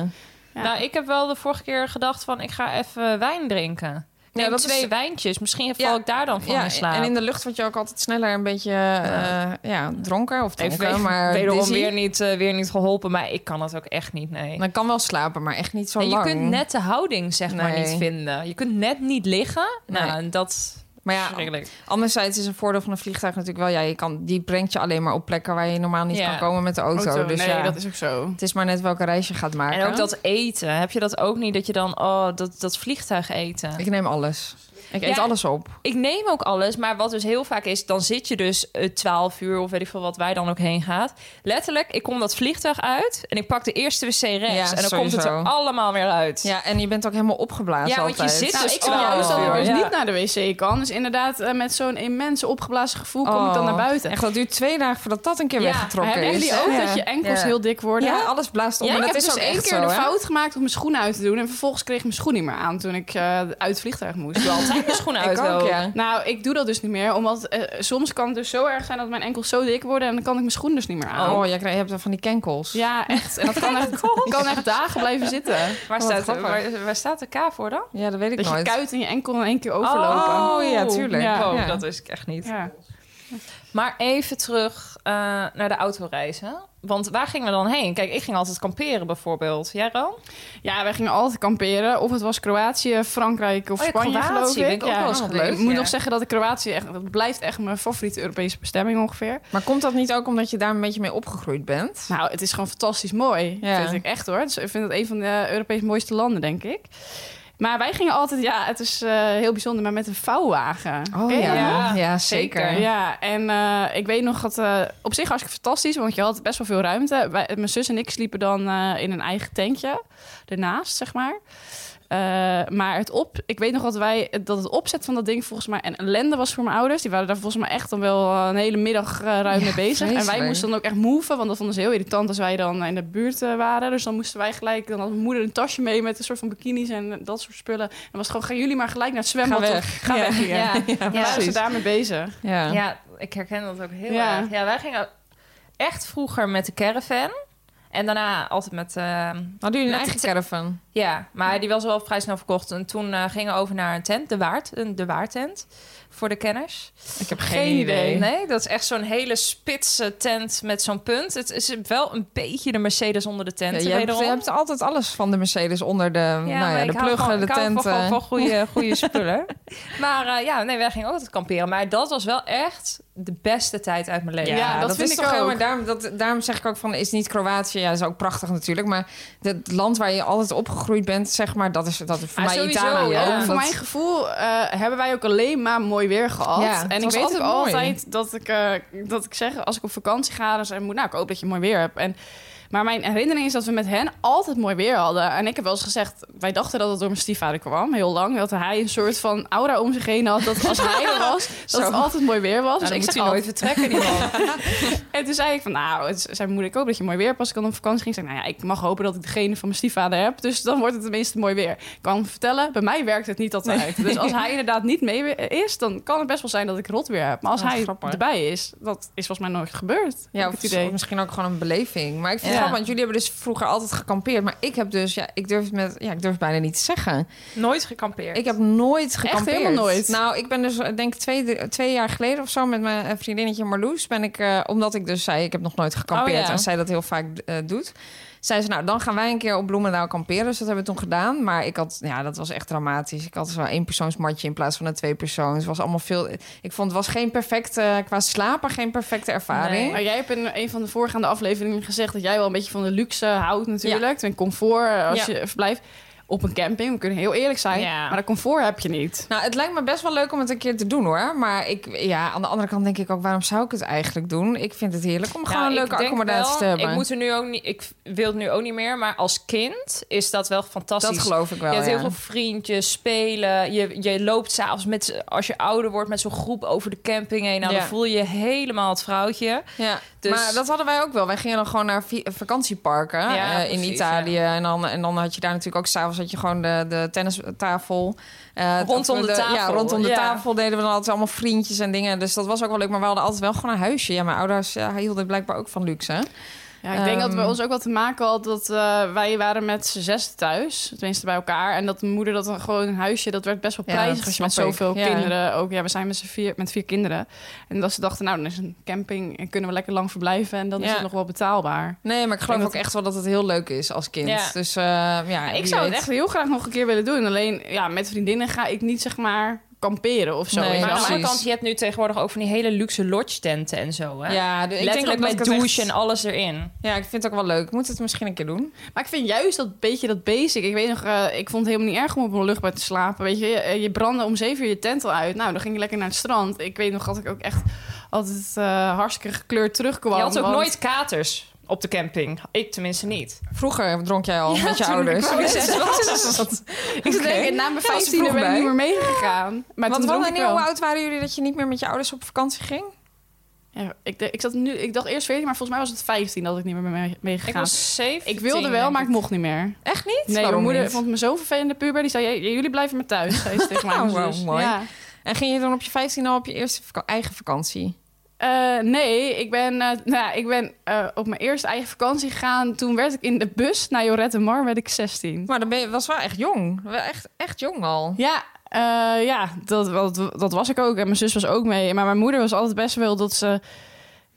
Speaker 7: Ja.
Speaker 6: Nou, ik heb wel de vorige keer gedacht van... ik ga even wijn drinken. Ik
Speaker 8: Ja,
Speaker 6: neem
Speaker 8: dat is-
Speaker 6: twee wijntjes. Misschien
Speaker 8: Ja.
Speaker 6: val ik daar dan van
Speaker 8: ja,
Speaker 6: in slaap.
Speaker 8: en in de lucht word je ook altijd sneller een beetje eh, ja, dronken of
Speaker 6: Even
Speaker 8: dronken, maar
Speaker 6: wederom
Speaker 8: dizzy.
Speaker 6: weer niet, eh, weer niet geholpen. Maar ik kan dat ook echt niet, nee.
Speaker 8: Dan kan wel slapen, maar echt niet zo
Speaker 6: En je
Speaker 8: lang.
Speaker 6: kunt net de houding zeg maar
Speaker 8: Nee.
Speaker 6: niet vinden. Je kunt net niet liggen.
Speaker 8: Nee.
Speaker 6: Nou, en dat...
Speaker 8: Maar ja,
Speaker 6: Verschrikkelijk.
Speaker 8: anderzijds is een voordeel van een vliegtuig natuurlijk wel... Ja, je kan, die brengt je alleen maar op plekken waar je normaal niet
Speaker 6: Ja.
Speaker 8: kan komen met de auto. dus
Speaker 7: nee,
Speaker 8: ja,
Speaker 7: dat is ook
Speaker 6: Oh,
Speaker 7: zo.
Speaker 8: het is maar net welke reis je gaat maken.
Speaker 6: En ook dat eten. Heb je dat ook niet? Dat je dan, oh, dat, dat vliegtuig eten.
Speaker 8: Ik neem alles. Ik eet
Speaker 6: Ja.
Speaker 8: alles op.
Speaker 6: Ik neem ook alles, maar wat dus heel vaak is, dan zit je dus eh, 12 uur of weet ik veel wat wij dan ook heen gaat. Letterlijk, ik kom dat vliegtuig uit en ik pak de eerste wc rechts en dan komt het er
Speaker 8: sowieso.
Speaker 6: allemaal weer uit.
Speaker 8: Ja, en je bent ook helemaal opgeblazen
Speaker 6: Ja, want
Speaker 8: altijd.
Speaker 6: je zit
Speaker 7: Nou,
Speaker 6: dus
Speaker 7: ik zou juist dat ik
Speaker 8: uur.
Speaker 7: dus
Speaker 6: Ja.
Speaker 7: niet naar de wc kan. Dus inderdaad, eh, met zo'n immense opgeblazen gevoel kom ik
Speaker 6: Oh.
Speaker 7: dan naar buiten.
Speaker 8: Oh. Echt, dat duurt twee dagen voordat dat een keer
Speaker 6: Ja,
Speaker 8: weggetrokken
Speaker 7: Hebben
Speaker 8: is.
Speaker 7: jullie ook
Speaker 8: Ja.
Speaker 7: dat je enkels
Speaker 8: Ja.
Speaker 7: heel dik worden?
Speaker 8: Ja, alles blaast op.
Speaker 6: Ja,
Speaker 8: en
Speaker 6: ik
Speaker 8: dat
Speaker 7: ik
Speaker 8: is
Speaker 7: heb dus
Speaker 8: ook
Speaker 7: één
Speaker 8: echt
Speaker 7: keer
Speaker 8: zo,
Speaker 7: de
Speaker 8: hè?
Speaker 7: fout gemaakt om mijn schoenen uit te doen. En vervolgens kreeg ik mijn schoen niet meer aan toen ik eh, uit het vliegtuig moest.
Speaker 6: Zijn de schoenen uit
Speaker 8: Ik ook,
Speaker 6: ook?
Speaker 8: ja.
Speaker 7: Nou, ik doe dat dus niet meer. Omdat eh, soms kan het dus zo erg zijn dat mijn enkels zo dik worden... en dan kan ik mijn schoen dus niet meer aan.
Speaker 8: Oh, jij krijgt- je hebt van die kenkels.
Speaker 7: Ja, echt. En dat kan echt, kan echt dagen blijven zitten.
Speaker 6: Waar,
Speaker 8: Wat
Speaker 6: staat,
Speaker 8: grappig.
Speaker 6: waar, waar staat de K voor dan?
Speaker 8: Ja, dat weet ik
Speaker 7: Dat je
Speaker 8: nooit.
Speaker 7: kuit en je enkel in één keer overlopen.
Speaker 8: Oh, ja, tuurlijk.
Speaker 7: Ja.
Speaker 6: Wow,
Speaker 8: Ja.
Speaker 6: Dat wist ik echt niet.
Speaker 7: Ja.
Speaker 6: Maar even terug eh, naar de autoreizen. Want waar gingen we dan heen? Kijk, ik ging altijd kamperen bijvoorbeeld. Jij, Ran?
Speaker 7: ja, wij gingen altijd kamperen. Of het was Kroatië, Frankrijk of
Speaker 6: Oh ja,
Speaker 7: Spanje,
Speaker 6: Kroatië
Speaker 7: geloof
Speaker 6: ben ik ook
Speaker 7: Ja.
Speaker 6: wel eens
Speaker 7: Oh,
Speaker 6: geweest,
Speaker 7: Ik moet
Speaker 6: ja.
Speaker 7: nog zeggen dat ik Kroatië echt... dat blijft echt mijn favoriete Europese bestemming ongeveer.
Speaker 8: Maar komt dat niet ook omdat je daar een beetje mee opgegroeid bent?
Speaker 7: Nou, het is gewoon fantastisch mooi.
Speaker 8: Ja.
Speaker 7: Vind ik echt hoor. Dus ik vind het een van de Europees mooiste landen, denk ik. Maar wij gingen altijd, ja, het is eh, heel bijzonder, maar met een vouwwagen. Ken je dat nog?
Speaker 8: Oh, ja.
Speaker 6: nog?
Speaker 8: ja, zeker.
Speaker 6: Zeker.
Speaker 7: Ja, en eh, ik weet nog dat eh, op zich hartstikke fantastisch, want je had best wel veel ruimte. Wij, mijn zus en ik sliepen dan eh, in een eigen tentje ernaast, zeg maar. Eh, maar het op, ik weet nog dat, wij, dat het opzet van dat ding volgens mij een ellende was voor mijn ouders. Die waren daar volgens mij echt dan wel eh, een hele middag eh, ruim
Speaker 8: Ja,
Speaker 7: mee bezig. En wij
Speaker 8: vreselijk.
Speaker 7: moesten dan ook echt moven, want dat vonden ze heel irritant als wij dan in de buurt eh, waren. Dus dan moesten wij gelijk, dan had mijn moeder een tasje mee met een soort van bikinis en dat soort spullen. En was het gewoon, gaan jullie maar gelijk naar het zwembad.
Speaker 8: Ga
Speaker 7: of-
Speaker 8: weg.
Speaker 7: Ga weg hier. Ja. waren ze
Speaker 8: precies.
Speaker 7: daarmee bezig.
Speaker 8: Ja.
Speaker 6: Ja, ik herken dat ook heel
Speaker 7: Ja.
Speaker 6: erg. Ja, wij gingen echt vroeger met de caravan. En daarna altijd met... eh,
Speaker 8: Hadden jullie een
Speaker 6: Met
Speaker 8: eigen caravan?
Speaker 6: ja, maar die was wel vrij snel verkocht. En toen eh, gingen we over naar een tent, de Waard. Een, de Waardtent, voor de kenners.
Speaker 8: Ik heb
Speaker 7: geen idee.
Speaker 6: Nee, dat is echt zo'n hele spitse tent met zo'n punt. Het is wel een beetje de Mercedes onder de tent.
Speaker 8: je, hebt, je hebt altijd alles van de Mercedes onder de, nou ja,
Speaker 6: maar
Speaker 8: de
Speaker 6: ik hou
Speaker 8: pluggen,
Speaker 6: gewoon-
Speaker 8: de
Speaker 6: ik hou
Speaker 8: tenten.
Speaker 6: gewoon van goede, goede spullen. Maar eh, ja, nee, wij gingen ook altijd kamperen. Maar dat was wel echt de beste tijd uit mijn leven.
Speaker 7: Ja, dat vind
Speaker 8: is
Speaker 7: ik
Speaker 8: toch
Speaker 7: ook.
Speaker 8: helemaal- daarom, dat, daarom zeg ik ook van, is niet Kroatië, ja, dat is ook prachtig natuurlijk, maar het land waar je altijd opgegroeid bent, zeg maar, dat is, dat is voor
Speaker 6: Ah,
Speaker 8: mij
Speaker 6: sowieso,
Speaker 8: Italië.
Speaker 6: ja.
Speaker 7: Ook
Speaker 8: Dat-
Speaker 7: voor Oh, mijn gevoel eh, hebben wij ook alleen maar mooi weer gehad.
Speaker 8: Ja, het
Speaker 7: en ik
Speaker 8: was
Speaker 7: weet ook
Speaker 8: altijd mooi.
Speaker 7: altijd dat ik, eh, dat ik zeg, als ik op vakantie ga, dan zeg ik, nou, ik hoop dat je mooi weer hebt. En, maar mijn herinnering is dat we met hen altijd mooi weer hadden. En ik heb wel eens gezegd, wij dachten dat het door mijn stiefvader kwam, heel lang. Dat hij een soort van aura om zich heen had, dat als hij er was, dat het altijd mooi weer was.
Speaker 6: Dus
Speaker 8: Nou,
Speaker 7: dus ik zeg
Speaker 6: moet hij nooit
Speaker 7: altijd,
Speaker 6: vertrekken, die man.
Speaker 7: en toen zei ik van, nou, het zei mijn moeder, ik hoop dat je mooi weer hebt. Als ik dan op vakantie ging, zei ik, nou ja, ik mag hopen dat ik degene van mijn stiefvader heb. Dus dan wordt het tenminste mooi weer. Ik kan hem vertellen, bij mij werkt het niet altijd. Dus als hij inderdaad niet mee is, dan kan het best wel zijn dat ik rot weer heb. Maar als
Speaker 8: Dat is
Speaker 7: hij
Speaker 8: grappig.
Speaker 7: erbij is, dat is volgens mij nooit gebeurd.
Speaker 8: Ja,
Speaker 7: heb
Speaker 8: of
Speaker 7: ik het idee.
Speaker 8: misschien ook gewoon een beleving. Maar ik vind
Speaker 6: Ja.
Speaker 8: het grappig, want jullie hebben dus vroeger altijd gekampeerd. Maar ik heb dus, ja, ik durf het met, ja, ik durf het bijna niet te zeggen.
Speaker 6: Nooit gekampeerd.
Speaker 8: Ik heb nooit gekampeerd.
Speaker 7: helemaal nooit?
Speaker 8: Nou, ik ben dus, eh, denk ik, twee, drie- twee jaar geleden of zo met mijn eh, vriendinnetje Marloes. Ben ik, eh, omdat ik dus zei, ik heb nog nooit gekampeerd.
Speaker 6: Oh, ja.
Speaker 8: En zij dat heel vaak eh, doet. zei ze, nou, dan gaan wij een keer op Bloemendaal kamperen. Dus dat hebben we toen gedaan. Maar ik had, ja, dat was echt dramatisch. Ik had dus zo'n eenpersoonsmatje in plaats van een tweepersoons. Het was allemaal veel... Ik vond, het was geen perfecte, qua slapen, geen perfecte ervaring.
Speaker 7: Maar jij hebt in een van de voorgaande afleveringen gezegd dat jij wel een beetje van de luxe houdt natuurlijk. En comfort eh, als
Speaker 6: Ja.
Speaker 7: je verblijft op een camping. We kunnen heel eerlijk zijn.
Speaker 6: Ja.
Speaker 7: Maar dat comfort heb je niet.
Speaker 8: Nou, het lijkt me best wel leuk om het een keer te doen hoor. Maar ik, ja, aan de andere kant denk ik ook, waarom zou ik het eigenlijk doen? Ik vind het heerlijk om gewoon
Speaker 6: Nou,
Speaker 8: een
Speaker 6: ik
Speaker 8: leuke
Speaker 6: denk
Speaker 8: accommodatie
Speaker 6: wel,
Speaker 8: te hebben.
Speaker 6: Ik, moet er nu ook niet, ik wil het nu ook niet meer, maar als kind is dat wel fantastisch.
Speaker 8: dat geloof ik wel.
Speaker 6: je hebt heel
Speaker 8: ja.
Speaker 6: veel vriendjes, spelen. Je, je loopt s'avonds met, z'n- als je ouder wordt, met zo'n groep over de camping heen. Nou,
Speaker 8: Ja.
Speaker 6: dan voel je je helemaal het vrouwtje.
Speaker 8: Ja,
Speaker 6: Dus-
Speaker 8: maar dat hadden wij ook wel. Wij gingen dan gewoon naar vi- vakantieparken
Speaker 6: Ja,
Speaker 8: eh, in
Speaker 6: precies,
Speaker 8: Italië. En, dan, en dan had je daar natuurlijk ook s'avonds had je gewoon de, de tennistafel. Eh,
Speaker 6: Rondom
Speaker 8: of
Speaker 6: de tafel,
Speaker 8: Ja, rondom de
Speaker 6: ja.
Speaker 8: tafel deden we dan altijd allemaal vriendjes en dingen. Dus dat was ook wel leuk. Maar we hadden altijd wel gewoon een huisje. Ja, mijn ouders ja, hielden blijkbaar ook van luxe. hè?
Speaker 7: Ja, ik denk dat het bij
Speaker 8: Ehm.
Speaker 7: ons ook wel te maken had dat eh, wij waren met z'n zes thuis, tenminste bij elkaar. En dat moeder dat dan gewoon een huisje, dat werd best wel
Speaker 8: Ja,
Speaker 7: prijzig
Speaker 8: dat
Speaker 7: als je met
Speaker 8: snap ik.
Speaker 7: zoveel
Speaker 8: Ja.
Speaker 7: kinderen ook. Ja, we zijn met z'n vier, met vier kinderen. En dat ze dachten, nou dan is een camping en kunnen we lekker lang verblijven en dan is
Speaker 8: Ja.
Speaker 7: het nog wel betaalbaar.
Speaker 8: Nee, maar ik geloof
Speaker 7: denk
Speaker 8: ook echt wel dat het heel leuk is als kind.
Speaker 6: Ja.
Speaker 8: Dus eh, ja,
Speaker 7: ik
Speaker 8: wie
Speaker 7: zou het
Speaker 8: weet.
Speaker 7: echt heel graag nog een keer willen doen. Alleen ja, met vriendinnen ga ik niet zeg maar kamperen of zo.
Speaker 8: Nee,
Speaker 7: weet je
Speaker 6: Maar
Speaker 7: wel.
Speaker 6: aan de andere
Speaker 8: precies.
Speaker 6: kant, je hebt nu tegenwoordig ook van die hele luxe lodge tenten en zo. Hè?
Speaker 8: Ja, de- ik denk
Speaker 6: Letterlijk
Speaker 8: ook dat
Speaker 6: met
Speaker 8: ik het echt-
Speaker 6: douche en alles erin.
Speaker 8: Ja, ik vind het ook wel leuk. Ik moet het misschien een keer doen.
Speaker 7: Maar ik vind juist dat beetje dat basic. Ik weet nog, eh, ik vond het helemaal niet erg om op een luchtbed te slapen. Weet je, Eh, je, je brandde om zeven uur je tent al uit. Nou, dan ging je lekker naar het strand. Ik weet nog dat ik ook echt altijd eh, hartstikke gekleurd terugkwam.
Speaker 6: je had ook
Speaker 7: want-
Speaker 6: nooit katers op de camping. Ik tenminste niet.
Speaker 8: Vroeger dronk jij al
Speaker 6: Ja,
Speaker 8: met je
Speaker 6: toen ik
Speaker 8: ouders.
Speaker 6: wel
Speaker 8: Wat
Speaker 6: eens
Speaker 8: is dat?
Speaker 7: Ik zat te
Speaker 8: Oké.
Speaker 7: denken, na mijn
Speaker 8: Ja, was er
Speaker 7: vijftiende
Speaker 8: vroeg
Speaker 7: ben ik
Speaker 8: bij.
Speaker 7: niet meer meegegaan. Maar toen
Speaker 8: Want wat
Speaker 7: dronk
Speaker 8: en
Speaker 7: ik
Speaker 8: hoe
Speaker 7: wel.
Speaker 8: oud waren jullie dat je niet meer met je ouders op vakantie ging?
Speaker 7: Ja, ik, de- ik, zat nu, ik dacht eerst 14, maar volgens mij was het 15 dat ik niet meer mee- meegegaan.
Speaker 6: Ik was 17.
Speaker 7: Ik wilde wel,
Speaker 6: denk
Speaker 7: maar ik mocht niet meer.
Speaker 8: Echt niet?
Speaker 7: Nee,
Speaker 8: Waarom
Speaker 7: mijn moeder
Speaker 8: niet?
Speaker 7: vond me zo vervelend puber. Die zei, "J- jullie blijven maar thuis, zei ze tegen mij.
Speaker 8: Oh,
Speaker 7: mijn
Speaker 8: wow,
Speaker 7: zus.
Speaker 8: mooi.
Speaker 7: Ja.
Speaker 8: En ging je dan op je 15 al op je eerste vaka- eigen vakantie?
Speaker 7: Eh, nee, ik ben, eh, nou, ja, ik ben eh, op mijn eerste eigen vakantie gegaan. Toen werd ik in de bus naar Jorette Mar, werd ik 16.
Speaker 8: Maar dan ben je, was wel echt jong. Wel Echt, echt jong al.
Speaker 7: Ja, eh, ja dat, dat, dat was ik ook. En mijn zus was ook mee. Maar mijn moeder was altijd best wel dat ze...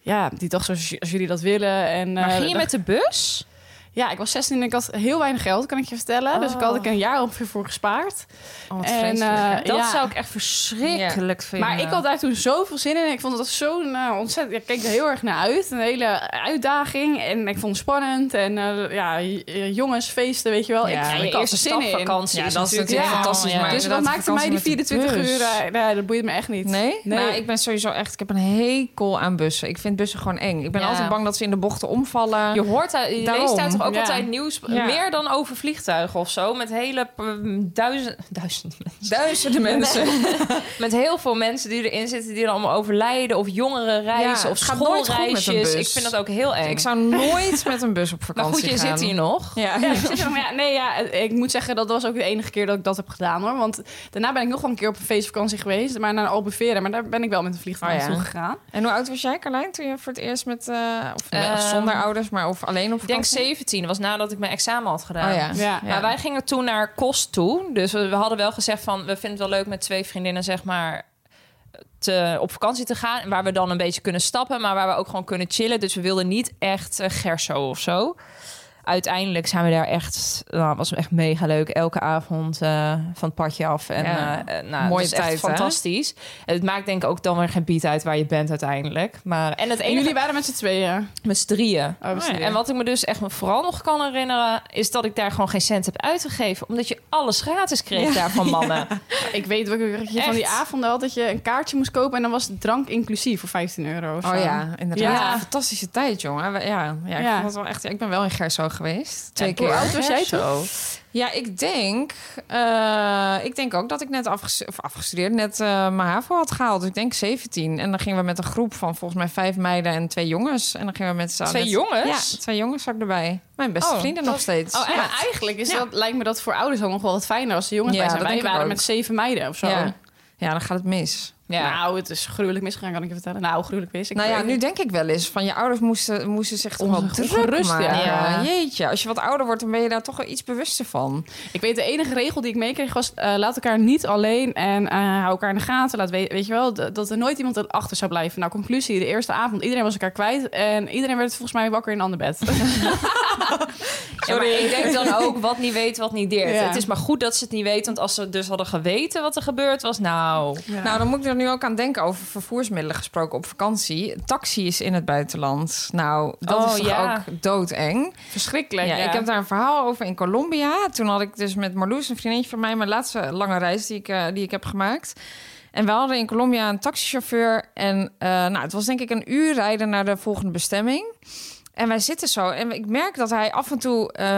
Speaker 7: Ja, die dacht zoals j- als jullie dat willen. En,
Speaker 6: Maar
Speaker 7: eh,
Speaker 6: ging je
Speaker 7: dat-
Speaker 6: met de bus?
Speaker 7: Ja, ik was 16 en ik had heel weinig geld, kan ik je vertellen. Dus ik
Speaker 6: Oh.
Speaker 7: had ik een jaar ongeveer voor gespaard.
Speaker 8: Oh, wat
Speaker 7: En,
Speaker 8: vreselijk.
Speaker 7: eh,
Speaker 8: hè?
Speaker 6: Dat
Speaker 7: ja.
Speaker 6: zou ik echt verschrikkelijk vinden.
Speaker 7: Maar ik had daar toen zoveel zin in. Ik vond dat zo'n eh, ontzettend... Ik keek er heel erg naar uit. Een hele uitdaging. En ik vond het spannend. En eh, ja, j- eh, jongens, feesten, weet je wel.
Speaker 8: Ja,
Speaker 7: ik,
Speaker 8: je
Speaker 7: ik
Speaker 6: eerste
Speaker 7: had er zin in.
Speaker 6: stapvakantie
Speaker 8: Ja,
Speaker 6: is
Speaker 8: dat is
Speaker 6: natuurlijk
Speaker 8: natuurlijk fantastisch, maar
Speaker 7: Dus wat
Speaker 8: Inderdaad,
Speaker 7: maakte mij die
Speaker 8: vakantie met de
Speaker 7: 24 uur?
Speaker 8: bus.
Speaker 7: eh, nou, dat boeit me echt niet.
Speaker 8: Nee? nee? Nou, ik ben sowieso echt... Ik heb een hekel aan bussen. Ik vind bussen gewoon eng. Ik ben
Speaker 6: Ja.
Speaker 8: altijd bang dat ze in de bochten omvallen.
Speaker 6: Je hoort, daar- je
Speaker 8: Daarom.
Speaker 6: leest daar toch ook
Speaker 7: Ja.
Speaker 6: altijd nieuws,
Speaker 8: Ja.
Speaker 6: meer dan over vliegtuigen of zo, met hele mm, duizend, duizend,
Speaker 8: Duizenden mensen.
Speaker 6: met heel veel mensen die erin zitten die dan allemaal overlijden of jongeren reizen
Speaker 8: Ja,
Speaker 6: of
Speaker 8: het gaat nooit goed met een
Speaker 6: schoolreisjes.
Speaker 8: bus.
Speaker 6: Ik vind dat ook heel eng.
Speaker 8: Ik zou nooit met een bus op
Speaker 6: maar
Speaker 8: vakantie
Speaker 6: goed, je
Speaker 8: gaan.
Speaker 6: zit hier nog.
Speaker 8: Ja.
Speaker 7: Ja, precies. Maar ja, nee, ja, ik moet zeggen, dat was ook de enige keer dat ik dat heb gedaan hoor. Want daarna ben ik nog wel een keer op een feestvakantie geweest, maar naar Albufeira. Maar daar ben ik wel met een vliegtuig
Speaker 8: Oh ja.
Speaker 7: naartoe gegaan.
Speaker 8: En hoe oud was jij, Carlijn, toen je voor het eerst met... eh, of met-
Speaker 6: Ehm,
Speaker 8: zonder ouders, maar of alleen op
Speaker 6: Ik denk
Speaker 8: vakantie?
Speaker 6: 17, dat was nadat ik mijn examen had gedaan.
Speaker 8: Oh ja.
Speaker 7: Ja.
Speaker 6: Maar wij gingen toen naar Kost toe. Dus we, we hadden wel gezegd van... we vinden het wel leuk met twee vriendinnen, zeg maar... Te, op vakantie te gaan. Waar we dan een beetje kunnen stappen... maar waar we ook gewoon kunnen chillen. Dus we wilden niet echt eh, Gerso of zo. Uiteindelijk zijn we daar echt... Nou, was echt mega leuk. Elke avond eh, van het padje af. En,
Speaker 8: Ja.
Speaker 6: eh, eh, nou,
Speaker 8: Mooie
Speaker 6: dat is echt
Speaker 8: tijd, hè?
Speaker 6: fantastisch. Het maakt denk ik ook dan weer geen biet uit... waar je bent uiteindelijk. Maar, en het
Speaker 7: En
Speaker 6: enige...
Speaker 7: jullie waren met z'n tweeën.
Speaker 6: Met z'n drieën.
Speaker 7: Oh, met z'n
Speaker 6: Ja.
Speaker 7: drieën.
Speaker 6: En wat ik me dus echt vooral nog kan herinneren... is dat ik daar gewoon geen cent heb uitgegeven. Omdat je alles gratis kreeg daar van mannen.
Speaker 7: Ik weet ook dat je van die
Speaker 6: Echt?
Speaker 7: avonden had dat je een kaartje moest kopen en dan was de drank inclusief voor 15 euro of zo.
Speaker 8: Oh ja, inderdaad.
Speaker 7: Ja.
Speaker 8: Fantastische tijd, jongen. We- Ja, ja, ik,
Speaker 7: Ja.
Speaker 8: vond het wel echt, ik ben wel in Gerso geweest. Twee
Speaker 6: En
Speaker 8: keer.
Speaker 6: Hoe oud was jij
Speaker 8: Gerso?
Speaker 6: toen?
Speaker 8: Ja, ik denk, eh, ik denk ook dat ik net afgestu- of afgestudeerd, net eh, mijn HAVO had gehaald. Dus ik denk 17. En dan gingen we met een groep van volgens mij vijf meiden en twee jongens. En dan gingen we met z'n
Speaker 6: Twee
Speaker 8: met-
Speaker 6: jongens?
Speaker 8: Ja, twee jongens zat ik erbij. Mijn beste
Speaker 6: Oh,
Speaker 8: vrienden nog steeds.
Speaker 7: Oh, en eigenlijk is dat, lijkt me dat voor ouders dan nog wel wat fijner als de jongens
Speaker 8: Ja,
Speaker 7: bij zijn.
Speaker 8: dat
Speaker 7: Wij
Speaker 8: denk ik
Speaker 7: waren
Speaker 8: ook.
Speaker 7: met zeven meiden of zo.
Speaker 8: ja. ja, dan gaat het mis.
Speaker 6: Ja.
Speaker 7: Nou, het is gruwelijk misgegaan, kan ik je vertellen. Nou, gruwelijk mis. Ik
Speaker 8: Nou ja,
Speaker 7: weet-
Speaker 8: nu denk ik wel eens van je ouders moesten, moesten zich toch wel
Speaker 7: Onge-
Speaker 8: druk
Speaker 7: ongerust, ja.
Speaker 8: maken.
Speaker 6: Ja.
Speaker 8: Jeetje, als je wat ouder wordt, dan ben je daar toch wel iets bewuster van.
Speaker 7: Ik weet, de enige regel die ik meekreeg was... eh, laat elkaar niet alleen en eh, hou elkaar in de gaten. Laat we- weet je wel, d- dat er nooit iemand achter zou blijven. Nou, conclusie, de eerste avond, iedereen was elkaar kwijt. En iedereen werd volgens mij wakker in een ander bed.
Speaker 6: Sorry. ik denk dan ook wat niet weet, wat niet deert.
Speaker 7: Ja.
Speaker 6: Het is maar goed dat ze het niet weten. Want als ze dus hadden geweten wat er gebeurd was, nou...
Speaker 8: Nou, dan moet ik er nu ook aan denken over vervoersmiddelen gesproken op vakantie. Taxis in het buitenland. Nou, dat
Speaker 6: Oh,
Speaker 8: is toch
Speaker 6: ja.
Speaker 8: ook doodeng.
Speaker 7: Verschrikkelijk.
Speaker 8: Ja,
Speaker 7: Ja,
Speaker 8: Ik heb daar een verhaal over in Colombia. Toen had ik dus met Marloes, een vriendinnetje van mij, mijn laatste lange reis die ik, eh, die ik heb gemaakt. En we hadden in Colombia een taxichauffeur. En eh, nou, het was denk ik een uur rijden naar de volgende bestemming. En wij zitten zo. En ik merk dat hij af en toe eh,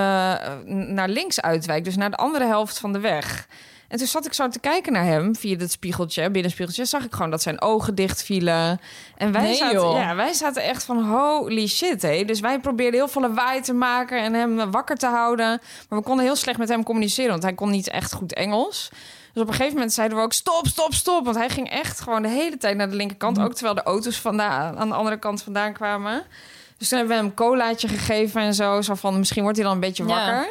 Speaker 8: naar links uitwijkt. Dus naar de andere helft van de weg. En toen zat ik zo te kijken naar hem via dat spiegeltje, binnen spiegeltje, zag ik gewoon dat zijn ogen dicht vielen. En wij,
Speaker 6: Nee,
Speaker 8: zaten,
Speaker 6: joh.
Speaker 8: ja, wij zaten echt van holy shit, hé. Dus wij probeerden heel veel lawaai te maken en hem eh, wakker te houden. Maar we konden heel slecht met hem communiceren, want hij kon niet echt goed Engels. Dus op een gegeven moment zeiden we ook stop, stop, stop. Want hij ging echt gewoon de hele tijd naar de linkerkant. Ook terwijl de auto's vandaan, aan de andere kant vandaan kwamen. Dus toen hebben we hem een colaatje gegeven en zo. Zo van, misschien wordt hij dan een beetje
Speaker 6: Ja.
Speaker 8: wakker.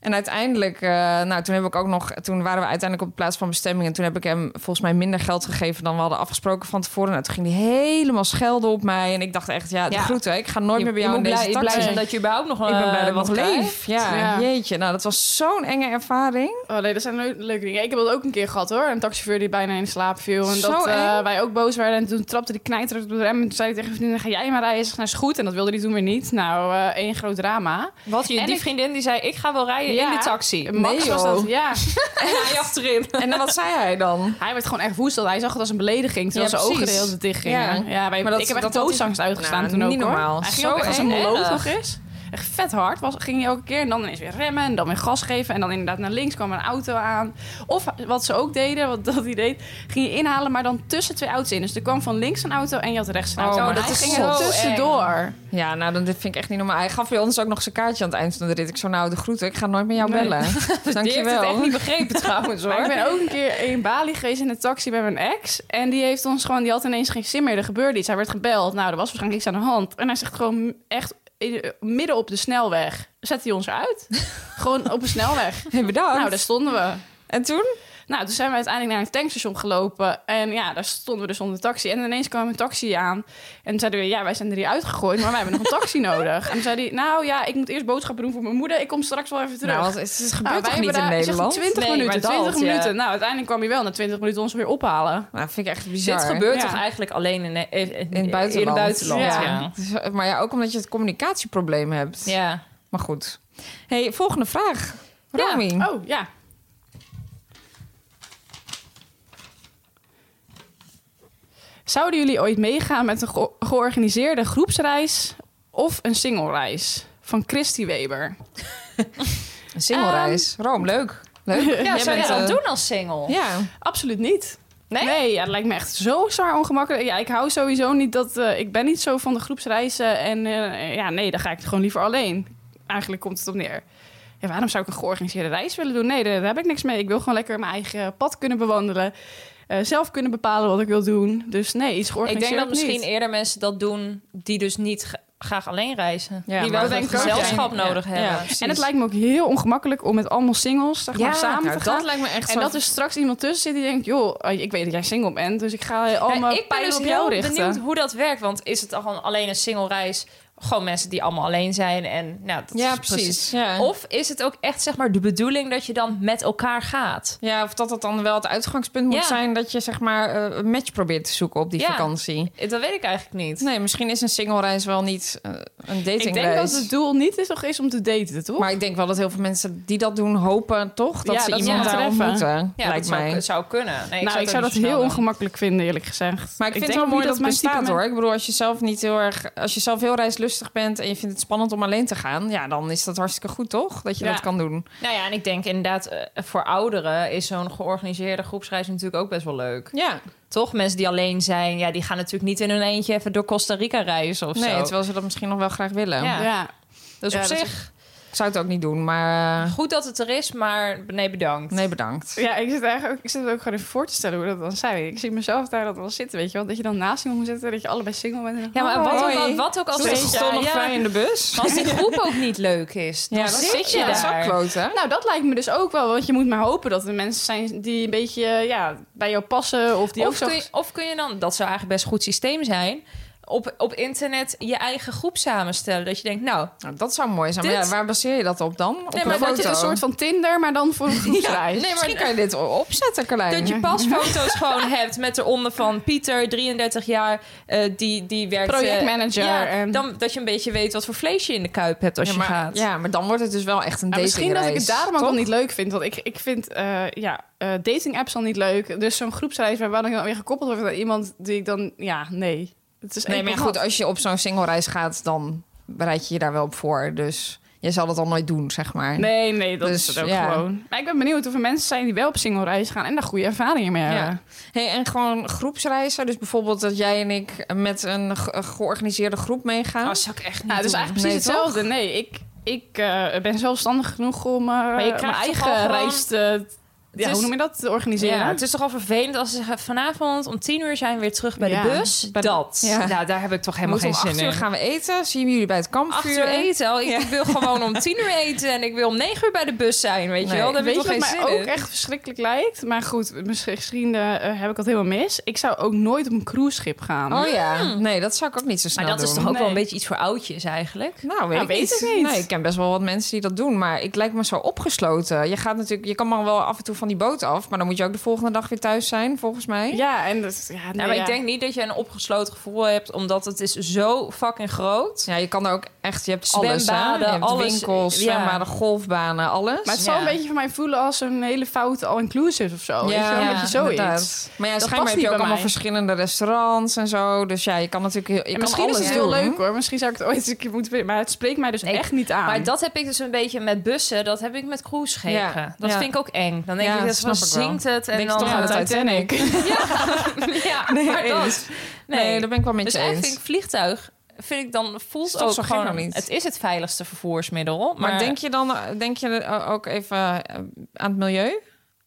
Speaker 8: En uiteindelijk, eh, nou, toen, heb ik ook nog, toen waren we uiteindelijk op de plaats van bestemming. En toen heb ik hem volgens mij minder geld gegeven dan we hadden afgesproken van tevoren. Nou, toen ging hij helemaal schelden op mij. En ik dacht echt, ja, de
Speaker 6: Ja.
Speaker 8: groeten. Ik ga nooit meer bij jou
Speaker 6: moet
Speaker 8: in deze
Speaker 6: blij,
Speaker 8: taxi.
Speaker 6: blij zijn dat je überhaupt nog
Speaker 8: ik ben
Speaker 6: eh,
Speaker 8: blij dat ik
Speaker 6: wat
Speaker 8: nog
Speaker 6: krijgt.
Speaker 8: leef. Ja,
Speaker 7: Ja.
Speaker 8: jeetje. Nou, dat was zo'n enge ervaring.
Speaker 7: Oh nee, dat zijn leu- leuke dingen. Ik heb dat ook een keer gehad hoor. Een taxichauffeur die bijna in slaap viel. En
Speaker 8: Zo
Speaker 7: dat eh,
Speaker 8: eng.
Speaker 7: wij ook boos werden. En toen trapte die knijter op de rem. En toen zei ik tegen mijn vriendin, ga jij maar rijden. Ze zei, nou is goed. En dat wilde hij toen weer niet. Nou, eh, één groot drama.
Speaker 6: Wat, je,
Speaker 7: En
Speaker 6: die
Speaker 7: ik-
Speaker 6: vriendin die zei, ik ga wel rijden
Speaker 7: Ja.
Speaker 6: in de taxi.
Speaker 7: Max was dat, ja.
Speaker 6: En hij achterin.
Speaker 8: En dan, wat zei hij dan?
Speaker 7: Hij werd gewoon echt woest. want Hij zag het als een belediging. Terwijl
Speaker 8: Ja,
Speaker 7: zijn ogen de
Speaker 8: precies.
Speaker 7: hele tijd dicht gingen.
Speaker 8: Ja.
Speaker 7: Ja. wij,
Speaker 8: Maar dat-
Speaker 7: ik heb
Speaker 8: dat
Speaker 7: echt
Speaker 8: had
Speaker 7: doodsangst uitgestaan
Speaker 8: Nou,
Speaker 7: toen ook
Speaker 8: niet normaal.
Speaker 7: Hoor. Hij ging
Speaker 8: Zo
Speaker 7: ook echt als een
Speaker 8: eng.
Speaker 7: moloot
Speaker 6: Erg.
Speaker 7: nog eens. Echt vet hard was, ging hij elke keer. En dan ineens weer remmen. En dan weer gas geven. En dan inderdaad naar links kwam een auto aan. Of wat ze ook deden, wat dat hij deed. Ging je inhalen, maar dan tussen twee auto's in. Dus er kwam van links een auto en je had rechts een auto.
Speaker 8: Oh, maar
Speaker 7: En
Speaker 8: dat
Speaker 7: hij
Speaker 8: is
Speaker 7: ging
Speaker 8: zo
Speaker 7: er
Speaker 8: eng.
Speaker 7: tussendoor.
Speaker 8: Ja, nou, dan, dit vind ik echt niet normaal. Hij gaf bij ons ook nog zijn kaartje aan het eind van de rit. Ik zo, nou, de groeten. Ik ga nooit met jou
Speaker 7: Nee.
Speaker 8: bellen.
Speaker 6: Die heeft het echt
Speaker 8: Dankjewel.
Speaker 6: niet begrepen trouwens hoor.
Speaker 7: Maar ik ben ook een keer in Bali geweest in de taxi bij mijn ex. En die heeft ons gewoon, die had ineens geen zin meer. Er gebeurde iets. Hij werd gebeld. Nou, er was waarschijnlijk iets aan de hand. En hij zegt gewoon echt in- eh, midden op de snelweg. Zet hij ons eruit? gewoon op een snelweg.
Speaker 8: Hey, bedankt.
Speaker 7: Nou, daar stonden we.
Speaker 8: En toen?
Speaker 7: Nou, toen zijn we uiteindelijk naar een tankstation gelopen. En ja, daar stonden we dus onder de taxi. En ineens kwam een taxi aan. En toen zeiden we, ja, wij zijn er hier uitgegooid, maar wij hebben nog een taxi nodig. En toen zei hij, nou ja, ik moet eerst boodschappen doen voor mijn moeder. Ik kom straks wel even terug.
Speaker 8: Nou, wat is, het
Speaker 7: Nou,
Speaker 8: gebeurt
Speaker 7: wij
Speaker 8: toch niet
Speaker 7: hebben
Speaker 8: in
Speaker 7: daar- ik zeg,
Speaker 8: Nederland?
Speaker 7: 20
Speaker 6: Nee, maar
Speaker 7: minuten,
Speaker 6: dat,
Speaker 7: 20
Speaker 6: ja.
Speaker 7: minuten. Nou, uiteindelijk kwam je wel na 20 minuten ons weer ophalen.
Speaker 8: Nou, vind ik echt bizar.
Speaker 6: Dit gebeurt
Speaker 7: Ja.
Speaker 6: toch eigenlijk alleen in, eh, in,
Speaker 8: in het buitenland.
Speaker 6: In het buitenland,
Speaker 8: Ja.
Speaker 6: ja.
Speaker 8: Dus, maar ja, ook omdat je het communicatieprobleem hebt.
Speaker 6: Ja.
Speaker 8: Maar goed. hey, volgende vraag. Romy.
Speaker 7: Oh, ja. Zouden jullie ooit meegaan met een ge- georganiseerde groepsreis of een singlereis? Van Christy Weber.
Speaker 8: Een singlereis. Rome, leuk. Leuk.
Speaker 6: Ja, zou je
Speaker 8: eh,
Speaker 6: dat doen als single?
Speaker 8: Ja.
Speaker 7: Absoluut niet.
Speaker 6: Nee?
Speaker 7: Nee, ja, dat lijkt me echt zo zwaar ongemakkelijk. Ja, ik hou sowieso niet dat... eh, ik ben niet zo van de groepsreizen. En eh, ja, nee, dan ga ik gewoon liever alleen. Eigenlijk komt het op neer. Ja, waarom zou ik een georganiseerde reis willen doen? Nee, daar, daar heb ik niks mee. Ik wil gewoon lekker mijn eigen pad kunnen bewandelen. eh, zelf kunnen bepalen wat ik wil doen. Dus nee, iets
Speaker 6: Ik
Speaker 7: georganiseerd
Speaker 6: denk dat misschien
Speaker 7: niet.
Speaker 6: eerder mensen dat doen die dus niet g- graag alleen reizen.
Speaker 8: Ja,
Speaker 6: die wel
Speaker 8: maar dat
Speaker 6: een
Speaker 8: denk ik ook.
Speaker 6: gezelschap
Speaker 8: Ja.
Speaker 6: nodig
Speaker 8: ja
Speaker 6: hebben.
Speaker 8: precies.
Speaker 7: En het lijkt me ook heel ongemakkelijk om met allemaal singles zeg maar, samen
Speaker 8: nou,
Speaker 7: te gaan.
Speaker 8: dat lijkt me echt
Speaker 7: En
Speaker 8: zo-
Speaker 7: dat er straks iemand tussen zit die denkt... joh, eh, ik weet dat jij single bent, dus ik ga allemaal
Speaker 6: Ja,
Speaker 7: mijn
Speaker 6: ik ben
Speaker 7: pijlen
Speaker 6: dus
Speaker 7: op jou
Speaker 6: heel
Speaker 7: richten.
Speaker 6: benieuwd hoe dat werkt. Want is het dan gewoon alleen een single reis? Gewoon mensen die allemaal alleen zijn. En, nou, dat
Speaker 8: Ja,
Speaker 6: is
Speaker 8: precies. Ja.
Speaker 6: Of is het ook echt zeg maar, de bedoeling dat je dan met elkaar gaat?
Speaker 8: Ja, of dat dat dan wel het uitgangspunt moet
Speaker 6: Ja.
Speaker 8: zijn... dat je zeg maar eh, een match probeert te zoeken op die
Speaker 6: Ja.
Speaker 8: vakantie.
Speaker 6: Dat weet ik eigenlijk niet.
Speaker 8: Nee, misschien is een singlereis wel niet eh, een datingreis.
Speaker 7: Ik denk dat het doel niet is, toch is om te daten, toch?
Speaker 8: Maar ik denk wel dat heel veel mensen die dat doen hopen toch... dat
Speaker 7: Ja,
Speaker 8: ze
Speaker 7: dat ze
Speaker 8: iemand
Speaker 7: elkaar
Speaker 8: daar
Speaker 7: treffen.
Speaker 8: ontmoeten,
Speaker 6: Ja,
Speaker 8: lijkt
Speaker 6: dat zou,
Speaker 8: mij.
Speaker 6: zou kunnen. Nee,
Speaker 7: nou, ik
Speaker 6: het
Speaker 7: zou dat
Speaker 6: niet
Speaker 7: heel
Speaker 6: snel doen.
Speaker 7: ongemakkelijk vinden, eerlijk gezegd.
Speaker 8: Maar ik,
Speaker 7: denk
Speaker 8: vind het wel
Speaker 7: ook
Speaker 8: mooi
Speaker 7: niet
Speaker 8: dat het
Speaker 7: mijn type
Speaker 8: bestaat
Speaker 7: men-
Speaker 8: hoor. Ik bedoel, als je zelf niet heel erg, als je zelf heel reislustig bent en je vindt het spannend om alleen te gaan, ja, dan is dat hartstikke goed, toch? Dat je
Speaker 7: Ja.
Speaker 8: dat kan doen.
Speaker 6: Nou ja, en ik denk inderdaad, eh, voor ouderen is zo'n georganiseerde groepsreis natuurlijk ook best wel leuk.
Speaker 8: Ja,
Speaker 6: Toch? Mensen die alleen zijn, ja, die gaan natuurlijk niet in hun eentje even door Costa Rica reizen of
Speaker 8: nee,
Speaker 6: zo.
Speaker 8: terwijl ze dat misschien nog wel graag willen.
Speaker 6: Ja.
Speaker 7: Ja.
Speaker 6: Dus
Speaker 7: Ja,
Speaker 6: op
Speaker 7: dat is-
Speaker 6: zich,
Speaker 8: Ik zou het ook niet doen, maar eh,
Speaker 6: goed dat het er is, maar nee, bedankt.
Speaker 8: nee, bedankt.
Speaker 7: Ja, ik zit eigenlijk ook, ik zit het ook gewoon even voor te stellen hoe dat dan zijn. Ik zie mezelf daar dat wel zitten, weet je wel. Dat je dan naast iemand moet zitten, dat je allebei single bent. Oh.
Speaker 6: Ja, maar wat ook,
Speaker 8: Hoi.
Speaker 6: al- wat ook als
Speaker 8: Ze
Speaker 6: het
Speaker 8: stonden nog vrij in de bus.
Speaker 6: als die groep ook niet leuk is, dan
Speaker 8: Ja, dat
Speaker 6: zit je
Speaker 8: ja, dat is ook
Speaker 6: daar.
Speaker 8: kloten.
Speaker 7: Nou, dat lijkt me dus ook wel. Want je moet maar hopen dat er mensen zijn die een beetje ja, bij jou passen. Of die ook
Speaker 6: of,
Speaker 7: zo...
Speaker 6: kun je, of kun je dan, dat zou eigenlijk best een goed systeem zijn. op, op internet je eigen groep samenstellen. Dat je denkt, nou,
Speaker 8: Nou, dat zou mooi zijn. Maar
Speaker 6: Dit-
Speaker 8: ja, waar baseer je dat op dan? Op
Speaker 6: Nee,
Speaker 8: een
Speaker 6: maar
Speaker 7: Dat je
Speaker 8: foto?
Speaker 7: een soort van Tinder, maar dan voor een groepsreis.
Speaker 8: Nee, maar kan je dit o- opzetten, Carlijn.
Speaker 6: dat je pasfoto's gewoon hebt met eronder van Pieter, 33 jaar, eh, die, die werkt... eh,
Speaker 7: Projectmanager ehm.
Speaker 6: ja,
Speaker 7: en-
Speaker 6: dan, dat je een beetje weet wat voor vlees je in de kuip hebt als
Speaker 8: ja,
Speaker 6: je
Speaker 8: maar,
Speaker 6: gaat.
Speaker 8: ja, maar dan wordt het dus wel echt een
Speaker 7: Ja,
Speaker 8: datingreis.
Speaker 7: misschien dat ik het daarom ook wel
Speaker 8: toch?
Speaker 7: niet leuk vind. Want ik, ik vind eh, ja, dating apps al niet leuk. Dus zo'n groepsreis waar dan weer gekoppeld wordt aan iemand die ik dan... Ja, nee. Het is
Speaker 8: Nee,
Speaker 7: enkel
Speaker 8: maar goed,
Speaker 7: dat.
Speaker 8: als je op zo'n singlereis gaat, dan bereid je je daar wel op voor. Dus je zal dat al nooit doen, zeg maar.
Speaker 7: Nee, nee, dat
Speaker 8: Dus,
Speaker 7: is het ook
Speaker 8: ja.
Speaker 7: gewoon. Maar ik ben benieuwd of er mensen zijn die wel op single reis gaan en daar goede ervaringen mee hebben.
Speaker 8: Ja. Hey, en gewoon groepsreizen. Dus bijvoorbeeld dat jij en ik met een ge- georganiseerde groep meegaan.
Speaker 6: Oh, Dat zou ik echt niet
Speaker 7: Nou, het is
Speaker 6: doen.
Speaker 7: eigenlijk precies
Speaker 8: Nee, toch?
Speaker 7: hetzelfde. Nee, ik, ik eh, ben zelfstandig genoeg om eh,
Speaker 6: je
Speaker 7: mijn
Speaker 6: krijgt toch
Speaker 7: eigen
Speaker 6: al gewoon-
Speaker 7: reis te... Ja,
Speaker 6: is-
Speaker 7: hoe noem je dat? Te organiseren.
Speaker 6: Ja, het is toch al vervelend als ze zeggen... vanavond om tien uur zijn we weer terug bij
Speaker 7: Ja,
Speaker 6: de bus.
Speaker 7: bij de-
Speaker 6: dat.
Speaker 8: Ja.
Speaker 6: Nou, daar heb ik toch
Speaker 8: We
Speaker 6: helemaal
Speaker 8: moeten
Speaker 6: geen
Speaker 8: om acht
Speaker 6: zin
Speaker 8: uur
Speaker 6: in.
Speaker 8: gaan we eten. Zien we jullie bij het
Speaker 6: Acht
Speaker 8: kampvuur.
Speaker 6: uur eten. al. Ik wil gewoon om tien uur eten en ik wil om negen uur bij de bus zijn. Weet je
Speaker 8: Nee,
Speaker 6: wel, daar
Speaker 7: Weet
Speaker 6: heb
Speaker 7: je
Speaker 6: ik toch
Speaker 7: wat
Speaker 6: geen
Speaker 7: mij
Speaker 6: zin
Speaker 7: ook
Speaker 6: in.
Speaker 7: echt verschrikkelijk lijkt? Maar goed, misschien, misschien eh, heb ik dat helemaal mis. Ik zou ook nooit op een cruiseschip gaan.
Speaker 8: Oh ja, nee, dat zou ik ook niet zo
Speaker 6: Hmm. Maar
Speaker 8: snel
Speaker 6: dat is
Speaker 8: doen.
Speaker 6: toch ook wel
Speaker 7: Nee.
Speaker 6: een beetje iets voor oudjes eigenlijk.
Speaker 8: Nou, weet,
Speaker 7: Nou,
Speaker 8: ik,
Speaker 7: weet
Speaker 8: niet.
Speaker 7: ik niet.
Speaker 8: Nee, ik ken best wel wat mensen die dat doen, maar ik lijkt me zo opgesloten. Je gaat natuurlijk, je kan maar wel af en toe van die boot af, maar dan moet je ook de volgende dag weer thuis zijn, volgens mij.
Speaker 7: Ja, en dat, ja, nee,
Speaker 6: Nou, maar
Speaker 7: ja.
Speaker 6: ik denk niet dat je een opgesloten gevoel hebt, omdat het is zo fucking groot.
Speaker 8: Ja, je kan daar ook echt, je hebt alles, hè?
Speaker 6: Zwembaden,
Speaker 8: je hebt
Speaker 6: alles,
Speaker 8: winkels,
Speaker 6: ja.
Speaker 8: zwembaden, golfbanen, alles.
Speaker 7: Maar het zal
Speaker 6: Ja.
Speaker 7: een beetje voor mij voelen als een hele foute all-inclusive of zo. Ja, weet je wel, een beetje zoiets.
Speaker 8: inderdaad. Maar ja,
Speaker 7: Dat
Speaker 8: schijnbaar
Speaker 7: past
Speaker 8: heb je
Speaker 7: niet bij
Speaker 8: ook allemaal
Speaker 7: mij.
Speaker 8: verschillende restaurants en zo. Dus ja, je kan natuurlijk heel, je
Speaker 7: En
Speaker 8: kan
Speaker 7: misschien
Speaker 8: alles
Speaker 7: is het heel
Speaker 8: doen.
Speaker 7: leuk hoor. Misschien zou ik het ooit eens een keer moeten proberen. Maar het spreekt mij dus
Speaker 6: Nee,
Speaker 7: echt niet aan.
Speaker 6: Maar dat heb ik dus een beetje met bussen, dat heb ik met cruiseschepen.
Speaker 8: Ja,
Speaker 6: Dat
Speaker 8: ja.
Speaker 6: vind ik ook eng. Dan denk
Speaker 8: Ja,
Speaker 6: ik, dat
Speaker 8: snap
Speaker 6: van,
Speaker 8: ik wel.
Speaker 6: zinkt het en
Speaker 8: Denk je
Speaker 6: dan...
Speaker 8: toch aan de
Speaker 6: Ja,
Speaker 8: Titanic? Nee,
Speaker 6: ja, maar dat... Nee,
Speaker 8: daar ben ik wel met
Speaker 6: dus
Speaker 8: je
Speaker 6: eigenlijk vind
Speaker 8: eens.
Speaker 6: ik vliegtuig, vind ik dan voelt
Speaker 8: Is toch
Speaker 6: ook
Speaker 8: zo gek
Speaker 6: gewoon...
Speaker 8: nog niet?
Speaker 6: Het is het veiligste vervoersmiddel, maar...
Speaker 8: Maar, denk je dan denk je eh, ook even eh, aan het milieu?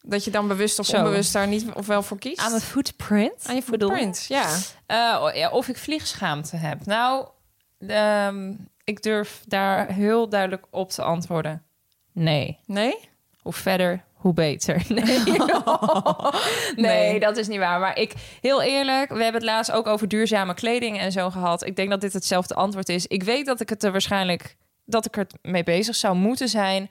Speaker 8: Dat je dan bewust of
Speaker 6: Zo.
Speaker 8: onbewust daar niet of wel voor kiest?
Speaker 6: aan mijn footprint.
Speaker 8: Aan je
Speaker 6: bedoel?
Speaker 8: footprint, ja.
Speaker 6: Eh, oh, ja, of ik vliegschaamte heb. Nou, ehm, ik durf daar heel duidelijk op te antwoorden. Nee.
Speaker 8: Nee?
Speaker 6: Hoe verder, hoe beter. Nee, nee, dat is niet waar. Maar ik, heel eerlijk, we hebben het laatst ook over duurzame kleding en zo gehad. Ik denk dat dit hetzelfde antwoord is. Ik weet dat ik het er waarschijnlijk, dat ik er mee bezig zou moeten zijn.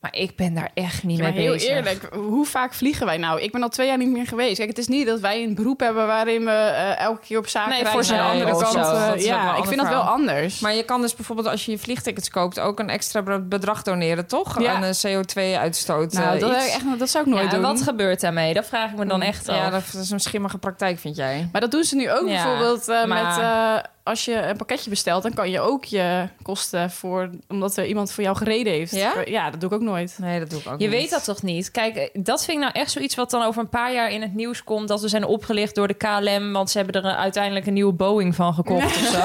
Speaker 6: Maar ik ben daar echt niet
Speaker 7: Ja,
Speaker 6: mee
Speaker 7: maar heel
Speaker 6: bezig.
Speaker 7: eerlijk, hoe vaak vliegen wij nou? Ik ben al twee jaar niet meer geweest. Kijk, het is niet dat wij een beroep hebben waarin we eh, elke keer op zaken
Speaker 6: Nee,
Speaker 7: rijden
Speaker 6: voor
Speaker 7: naar de
Speaker 6: z'n
Speaker 7: andere
Speaker 6: of
Speaker 7: kant.
Speaker 6: zo.
Speaker 7: eh,
Speaker 8: Dat is wel een
Speaker 7: ja, ik
Speaker 8: ander
Speaker 7: vind dat wel
Speaker 8: verhaal.
Speaker 7: anders.
Speaker 8: Maar je kan dus bijvoorbeeld als je je vliegtickets koopt... ook een extra be- bedrag doneren, toch?
Speaker 7: Ja.
Speaker 8: Aan de CO2-uitstoot.
Speaker 7: nou,
Speaker 8: eh,
Speaker 7: dat,
Speaker 8: iets.
Speaker 7: heb ik echt, dat zou ik nooit
Speaker 6: Ja, en
Speaker 7: doen.
Speaker 6: wat gebeurt daarmee? Dat vraag ik me dan echt af.
Speaker 8: Mm, Ja, dat is een schimmige praktijk, vind jij?
Speaker 7: Maar dat doen ze nu ook
Speaker 8: Ja,
Speaker 7: bijvoorbeeld eh,
Speaker 8: maar-
Speaker 7: met... eh, als je een pakketje bestelt, dan kan je ook je kosten voor... omdat er iemand voor jou gereden heeft. Eh,
Speaker 8: Ja?
Speaker 7: dat doe ik ook nooit.
Speaker 8: Nee, dat doe ik ook
Speaker 6: Je
Speaker 8: niet.
Speaker 6: weet dat toch niet? Kijk, eh, dat vind ik nou echt zoiets wat dan over een paar jaar in het nieuws komt. Dat we zijn opgelicht door de KLM, want ze hebben er eh, uiteindelijk een nieuwe Boeing van gekocht of zo.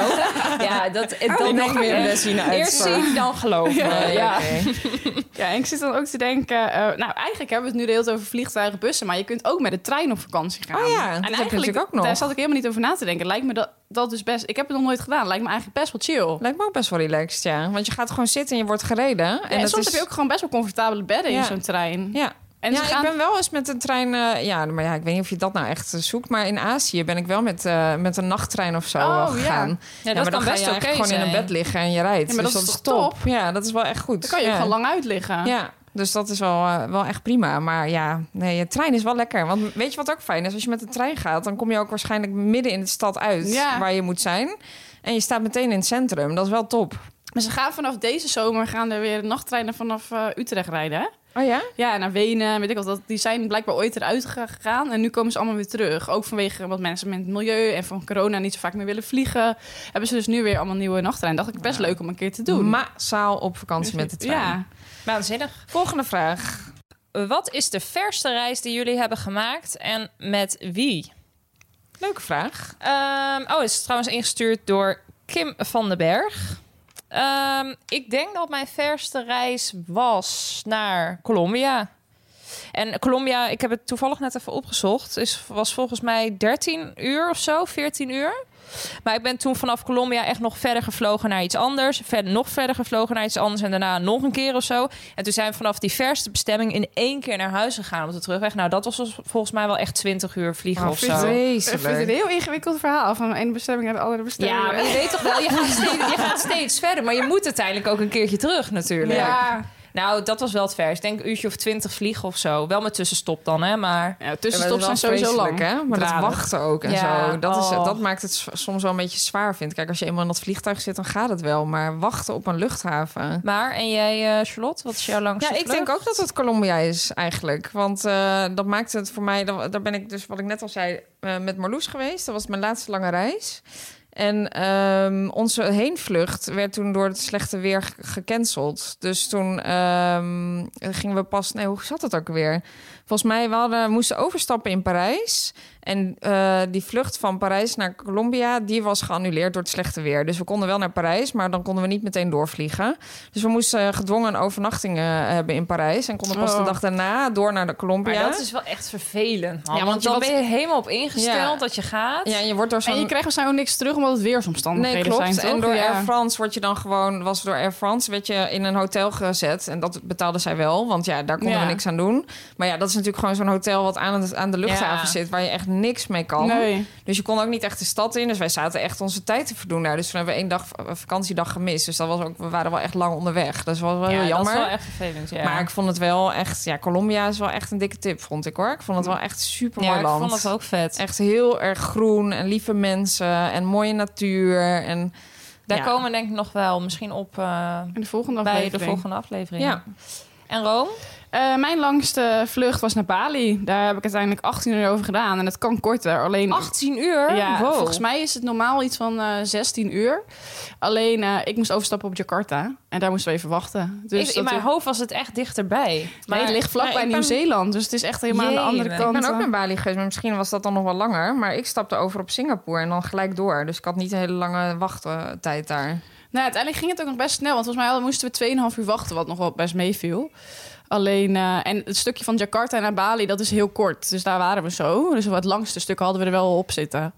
Speaker 6: Ja, dat, eh,
Speaker 8: Ik
Speaker 6: dan
Speaker 8: denk
Speaker 6: nog
Speaker 8: weer een
Speaker 6: weer.
Speaker 8: les zien uit.
Speaker 6: Eerst zien, dan geloven. Ja,
Speaker 8: Nee,
Speaker 6: ja.
Speaker 8: oké.
Speaker 7: Ja, en ik zit dan ook te denken... eh, nou, eigenlijk hebben we het nu de hele tijd over vliegtuigen, bussen... maar je kunt ook met de trein op vakantie gaan.
Speaker 8: Oh ja, dat heb je
Speaker 7: en eigenlijk,
Speaker 8: natuurlijk ook nog.
Speaker 7: daar zat ik helemaal niet over na te denken. Lijkt me dat, dat dus best... Ik heb het nog nooit gedaan. Lijkt me eigenlijk best wel chill.
Speaker 8: Lijkt me ook best wel relaxed, ja. Want je gaat gewoon zitten en je wordt gereden. en
Speaker 7: en
Speaker 8: dat
Speaker 7: soms
Speaker 8: is-
Speaker 7: heb je ook gewoon best wel comfortabele bedden
Speaker 8: Ja.
Speaker 7: in zo'n trein.
Speaker 8: Ja.
Speaker 7: En
Speaker 8: ja,
Speaker 7: ze gaan...
Speaker 8: ik ben wel eens met een trein... eh, ja, maar ja, ik weet niet of je dat nou echt eh, zoekt. Maar in Azië ben ik wel met, eh, met een nachttrein of zo
Speaker 7: Oh,
Speaker 8: eh,
Speaker 7: ja.
Speaker 8: gegaan.
Speaker 6: dat
Speaker 7: Ja,
Speaker 8: maar
Speaker 6: kan
Speaker 8: dan ga
Speaker 6: best
Speaker 8: je eigenlijk
Speaker 6: oké
Speaker 8: gewoon in een
Speaker 6: zijn.
Speaker 8: bed liggen en je rijdt.
Speaker 7: Ja, maar
Speaker 8: dus
Speaker 7: dat is toch top?
Speaker 8: Ja, dat is wel echt goed.
Speaker 7: Dan kan je
Speaker 8: ja.
Speaker 7: ook gewoon lang uit liggen.
Speaker 8: Ja, dus dat is wel, eh, wel echt prima. Maar ja, nee, je trein is wel lekker. Want weet je wat ook fijn is? Als je met de trein gaat, dan kom je ook waarschijnlijk midden in de stad uit...
Speaker 7: Ja.
Speaker 8: waar je moet zijn. En je staat meteen in het centrum. Dat is wel top.
Speaker 7: Maar ze gaan vanaf deze zomer gaan er weer nachttreinen vanaf eh, Utrecht rijden. Hè?
Speaker 8: Oh ja?
Speaker 7: Ja, naar Wenen, weet ik wat. dat- Die zijn blijkbaar ooit eruit ge- gegaan en nu komen ze allemaal weer terug. Ook vanwege wat mensen met het milieu en van corona niet zo vaak meer willen vliegen. Hebben ze dus nu weer allemaal nieuwe nachttreinen. Dacht ik best leuk om een keer te doen.
Speaker 8: Massaal op vakantie met de trein.
Speaker 7: Ja.
Speaker 6: Waanzinnig.
Speaker 8: Volgende vraag.
Speaker 6: Wat is de verste reis die jullie hebben gemaakt en met wie?
Speaker 8: Leuke vraag.
Speaker 6: Ehm, oh, het is trouwens ingestuurd door Kim van den Berg. Ehm, ik denk dat mijn verste reis was naar Colombia. En Colombia, ik heb het toevallig net even opgezocht, is, was volgens mij 13 uur of zo, 14 uur. Maar ik ben toen vanaf Colombia echt nog verder gevlogen naar iets anders. Verder, nog verder gevlogen naar iets anders. En daarna nog een keer of zo. En toen zijn we vanaf die verste bestemming in één keer naar huis gegaan op de terugweg. Nou, dat was dus volgens mij wel echt 20 uur
Speaker 8: Ah,
Speaker 6: vliegen of zo.
Speaker 7: Ik vind het een heel ingewikkeld verhaal van de ene bestemming naar de andere bestemming.
Speaker 6: Ja, maar je weet toch wel, je gaat, steeds, je gaat steeds verder. Maar je moet uiteindelijk ook een keertje terug natuurlijk.
Speaker 7: Ja.
Speaker 6: Nou, dat was wel het vers. Ik denk een uurtje of twintig vliegen of zo. Wel met tussenstop dan, hè. Maar
Speaker 7: Ja,
Speaker 8: Ja, maar
Speaker 7: tussenstops
Speaker 8: dat
Speaker 7: zijn
Speaker 8: is
Speaker 7: sowieso
Speaker 8: wel
Speaker 7: lang.
Speaker 8: vreselijk, Hè? Maar dat
Speaker 6: Draden.
Speaker 8: wachten ook en
Speaker 6: Ja,
Speaker 8: zo. Dat,
Speaker 6: oh.
Speaker 8: is, dat maakt het s- soms wel een beetje zwaar, vind ik. Kijk, als je eenmaal in dat vliegtuig zit, dan gaat het wel. Maar wachten op een luchthaven...
Speaker 6: Maar, en jij, eh, Charlotte, wat is jouw langste
Speaker 8: Ja, ik
Speaker 6: vlucht?
Speaker 8: denk ook dat het Colombia is eigenlijk. Want eh, dat maakt het voor mij... dat- Daar ben ik dus, wat ik net al zei, eh, met Marloes geweest. Dat was mijn laatste lange reis. En ehm, onze heenvlucht werd toen door het slechte weer ge- gecanceld. Dus toen ehm, gingen we pas... Nee, hoe zat het ook weer? Volgens mij, we hadden, moesten overstappen in Parijs. En eh, die vlucht van Parijs naar Colombia... die was geannuleerd door het slechte weer. Dus we konden wel naar Parijs, maar dan konden we niet meteen doorvliegen. Dus we moesten gedwongen een overnachting eh, hebben in Parijs. En konden pas de
Speaker 7: Oh.
Speaker 8: dag daarna door naar de
Speaker 6: Maar
Speaker 8: Colombia.
Speaker 6: dat is wel echt vervelend. man.
Speaker 7: Ja, want
Speaker 6: want
Speaker 7: je
Speaker 6: dan
Speaker 7: was-
Speaker 6: ben je helemaal op ingesteld
Speaker 8: Ja.
Speaker 6: dat je gaat.
Speaker 8: Ja, en je wordt door zo'n...
Speaker 7: En je krijgt waarschijnlijk ook niks terug omdat het weersomstandigheden
Speaker 8: Nee, klopt.
Speaker 7: zijn, toch?
Speaker 8: en door
Speaker 7: Ja.
Speaker 8: Air France word je dan gewoon, was door Air France, werd je in een hotel gezet. En dat betaalde zij wel, want ja, daar konden
Speaker 7: Ja.
Speaker 8: we niks aan doen. Maar ja, dat is natuurlijk gewoon zo'n hotel wat aan, het, aan de
Speaker 6: Ja.
Speaker 8: luchthaven zit, waar je echt niks mee kan.
Speaker 7: Nee.
Speaker 8: Dus je kon ook niet echt de stad in. Dus wij zaten echt onze tijd te verdoen daar. Dus toen hebben we één dag eh, vakantiedag gemist. Dus dat was ook, we waren wel echt lang onderweg. Dat was
Speaker 6: Ja,
Speaker 8: wel heel
Speaker 6: dat is
Speaker 8: jammer.
Speaker 6: wel echt vervelend, ja.
Speaker 8: Maar ik vond het wel echt, ja, Colombia is wel echt een dikke tip, vond ik hoor. Ik vond het wel echt super mooi
Speaker 6: ja, ik
Speaker 8: land.
Speaker 6: vond het ook vet.
Speaker 8: Echt heel erg groen en lieve mensen en mooie natuur. En
Speaker 6: Daar
Speaker 8: ja.
Speaker 6: komen we denk ik nog wel misschien op eh,
Speaker 7: In de volgende
Speaker 6: bij de
Speaker 7: aflevering.
Speaker 6: volgende aflevering.
Speaker 8: Ja.
Speaker 6: En Rome?
Speaker 7: Eh, mijn langste vlucht was naar Bali. Daar heb ik uiteindelijk 18 uur over gedaan. En het kan korter. Alleen
Speaker 6: 18 uur?
Speaker 7: Ja,
Speaker 6: Wow.
Speaker 7: volgens mij is het normaal iets van eh 16 uur. Alleen eh, ik moest overstappen op Jakarta. En daar moesten we even wachten. Dus
Speaker 6: Ik- in
Speaker 7: dat-
Speaker 6: mijn hoofd was het echt dichterbij.
Speaker 7: Nee, het ligt vlakbij
Speaker 8: Ja, ik ben-
Speaker 7: Nieuw-Zeeland. Dus het is echt helemaal aan de andere
Speaker 6: Jemig.
Speaker 7: kant.
Speaker 8: Ik ben
Speaker 7: eh,
Speaker 8: ook naar Bali geweest, maar misschien was dat dan nog wel langer. Maar ik stapte over op Singapore en dan gelijk door. Dus ik had niet een hele lange wachttijd daar.
Speaker 7: Nou, uiteindelijk ging het ook nog best snel. Want volgens mij moesten we 2,5 uur wachten, wat nog wel best meeviel. Alleen, eh, en het stukje van Jakarta naar Bali, dat is heel kort. Dus daar waren we zo. Dus wat langste stuk hadden we er wel op zitten.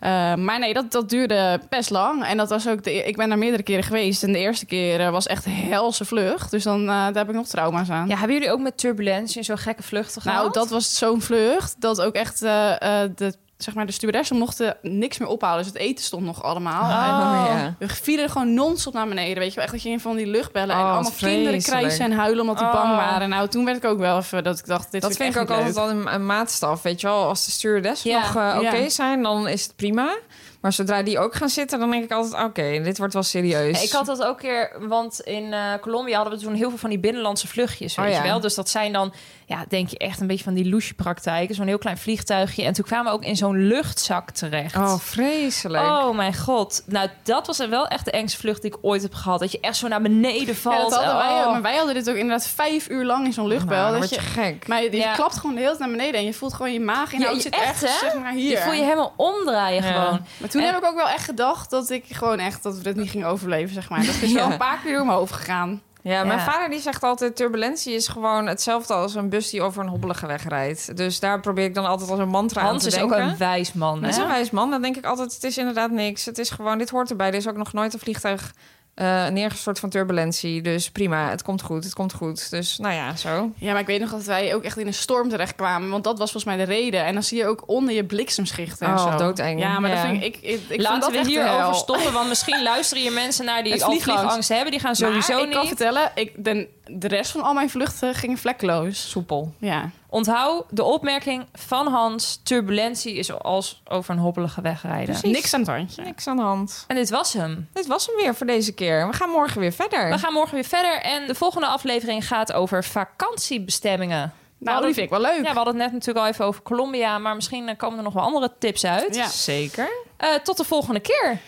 Speaker 7: Eh, maar nee, dat, dat duurde best lang. En dat was ook de, e- ik ben daar meerdere keren geweest. En de eerste keer eh, was echt helse vlucht. Dus dan, eh, daar heb ik nog trauma's aan.
Speaker 6: Ja, hebben jullie ook met turbulentie en zo'n gekke vluchten gehad?
Speaker 7: Nou, dat was zo'n vlucht dat ook echt eh, eh, de, zeg maar, de stewardessen mochten niks meer ophalen. Dus het eten stond nog allemaal.
Speaker 8: Oh,
Speaker 7: En
Speaker 8: ja.
Speaker 7: We vielen gewoon non-stop naar beneden. Weet je wel, echt dat je in van die luchtbellen en
Speaker 8: Oh,
Speaker 7: allemaal
Speaker 8: vreselijk.
Speaker 7: kinderen krijsen en huilen omdat die bang
Speaker 6: Oh.
Speaker 7: waren. Nou, toen werd ik ook wel even dat ik dacht, dit
Speaker 8: Dat vind ik ook
Speaker 7: echt niet
Speaker 8: altijd
Speaker 7: leuk.
Speaker 8: wel een, een maatstaf. Weet je wel, als de stewardess
Speaker 6: Ja,
Speaker 8: nog eh, oké
Speaker 7: ja.
Speaker 8: zijn, dan is het prima. Maar zodra die ook gaan zitten, dan denk ik altijd... oké, dit wordt wel serieus.
Speaker 7: Dus-
Speaker 6: Ja, Ik had dat ook keer, want in eh, Colombia hadden we toen heel veel van die binnenlandse vluchtjes, weet
Speaker 8: Oh,
Speaker 6: je
Speaker 8: ja.
Speaker 6: wel. Dus dat zijn dan, ja, denk je echt een beetje van die loesje praktijken. Zo'n heel klein vliegtuigje. En toen kwamen we ook in zo'n luchtzak terecht.
Speaker 8: Oh, vreselijk.
Speaker 6: Oh mijn god. Nou, dat was wel echt de engste vlucht die ik ooit heb gehad. Dat je echt zo naar beneden
Speaker 7: Ja,
Speaker 6: valt.
Speaker 7: dat hadden wij
Speaker 6: Oh.
Speaker 7: ook. Maar wij hadden dit ook inderdaad vijf uur lang in zo'n luchtbel.
Speaker 8: Nou, dan
Speaker 7: dat
Speaker 8: word je gek.
Speaker 7: maar je, je
Speaker 6: Ja.
Speaker 7: klapt gewoon de hele tijd naar beneden en je voelt gewoon je maag in.
Speaker 6: Ja,
Speaker 7: Ja,
Speaker 6: je-
Speaker 7: zit
Speaker 6: echt,
Speaker 7: echt,
Speaker 6: hè?
Speaker 7: zeg maar hier.
Speaker 6: Je voel je helemaal omdraaien
Speaker 8: Ja.
Speaker 6: gewoon.
Speaker 7: Maar toen
Speaker 6: En-
Speaker 7: heb ik ook wel echt gedacht dat ik gewoon echt dat we dit niet gingen overleven, zeg maar. Dat is wel
Speaker 8: Ja.
Speaker 7: een paar keer door mijn hoofd gegaan.
Speaker 8: Ja, mijn
Speaker 6: Ja.
Speaker 8: vader die zegt altijd... turbulentie is gewoon hetzelfde als een bus die over een hobbelige weg rijdt. Dus daar probeer ik dan altijd als een mantra aan
Speaker 6: Hans
Speaker 8: te
Speaker 6: is
Speaker 8: denken.
Speaker 6: ook een wijs man.
Speaker 8: Dat is
Speaker 6: hè?
Speaker 8: een wijs man. Dan denk ik altijd, het is inderdaad niks. Het is gewoon, dit hoort erbij. Er is ook nog nooit een vliegtuig eh, neergestort van turbulentie. Dus prima, het komt goed, het komt goed. Dus nou ja, zo.
Speaker 7: Ja, maar ik weet nog dat wij ook echt in een storm terechtkwamen. Want dat was volgens mij de reden. En dan zie je ook onder je bliksemschichten en
Speaker 8: Oh,
Speaker 7: zo.
Speaker 8: doodeng.
Speaker 7: Ja, maar
Speaker 8: Ja.
Speaker 7: dat vind ik... ik, ik, ik vond
Speaker 6: Laten
Speaker 7: dat
Speaker 6: we
Speaker 7: echt de hel.
Speaker 6: hierover stoppen, want misschien luisteren je mensen naar
Speaker 7: Het
Speaker 6: die al
Speaker 7: vliegangst.
Speaker 6: vliegangst hebben. Die gaan
Speaker 7: Maar
Speaker 6: sowieso
Speaker 7: ik kan
Speaker 6: niet.
Speaker 7: vertellen, ik, de, de rest van al mijn vluchten gingen vlekkeloos.
Speaker 8: Soepel.
Speaker 7: Ja.
Speaker 6: Onthoud de opmerking van Hans: turbulentie is als over een hobbelige weg rijden.
Speaker 7: Niks aan het handje.
Speaker 8: Niks aan de hand.
Speaker 6: En dit was hem.
Speaker 8: Dit was hem weer voor deze keer. We gaan morgen weer verder.
Speaker 6: We gaan morgen weer verder en de volgende aflevering gaat over vakantiebestemmingen.
Speaker 7: Nou, die vind ik wel
Speaker 6: Ja,
Speaker 7: leuk.
Speaker 6: we hadden het net natuurlijk al even over Colombia, maar misschien eh, komen er nog wel andere tips uit.
Speaker 7: Ja.
Speaker 8: Zeker.
Speaker 6: Eh, tot de volgende keer.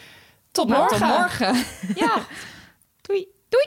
Speaker 6: Tot
Speaker 7: Nou,
Speaker 6: morgen.
Speaker 7: tot
Speaker 8: Morgen.
Speaker 6: Ja. Doei. Doei.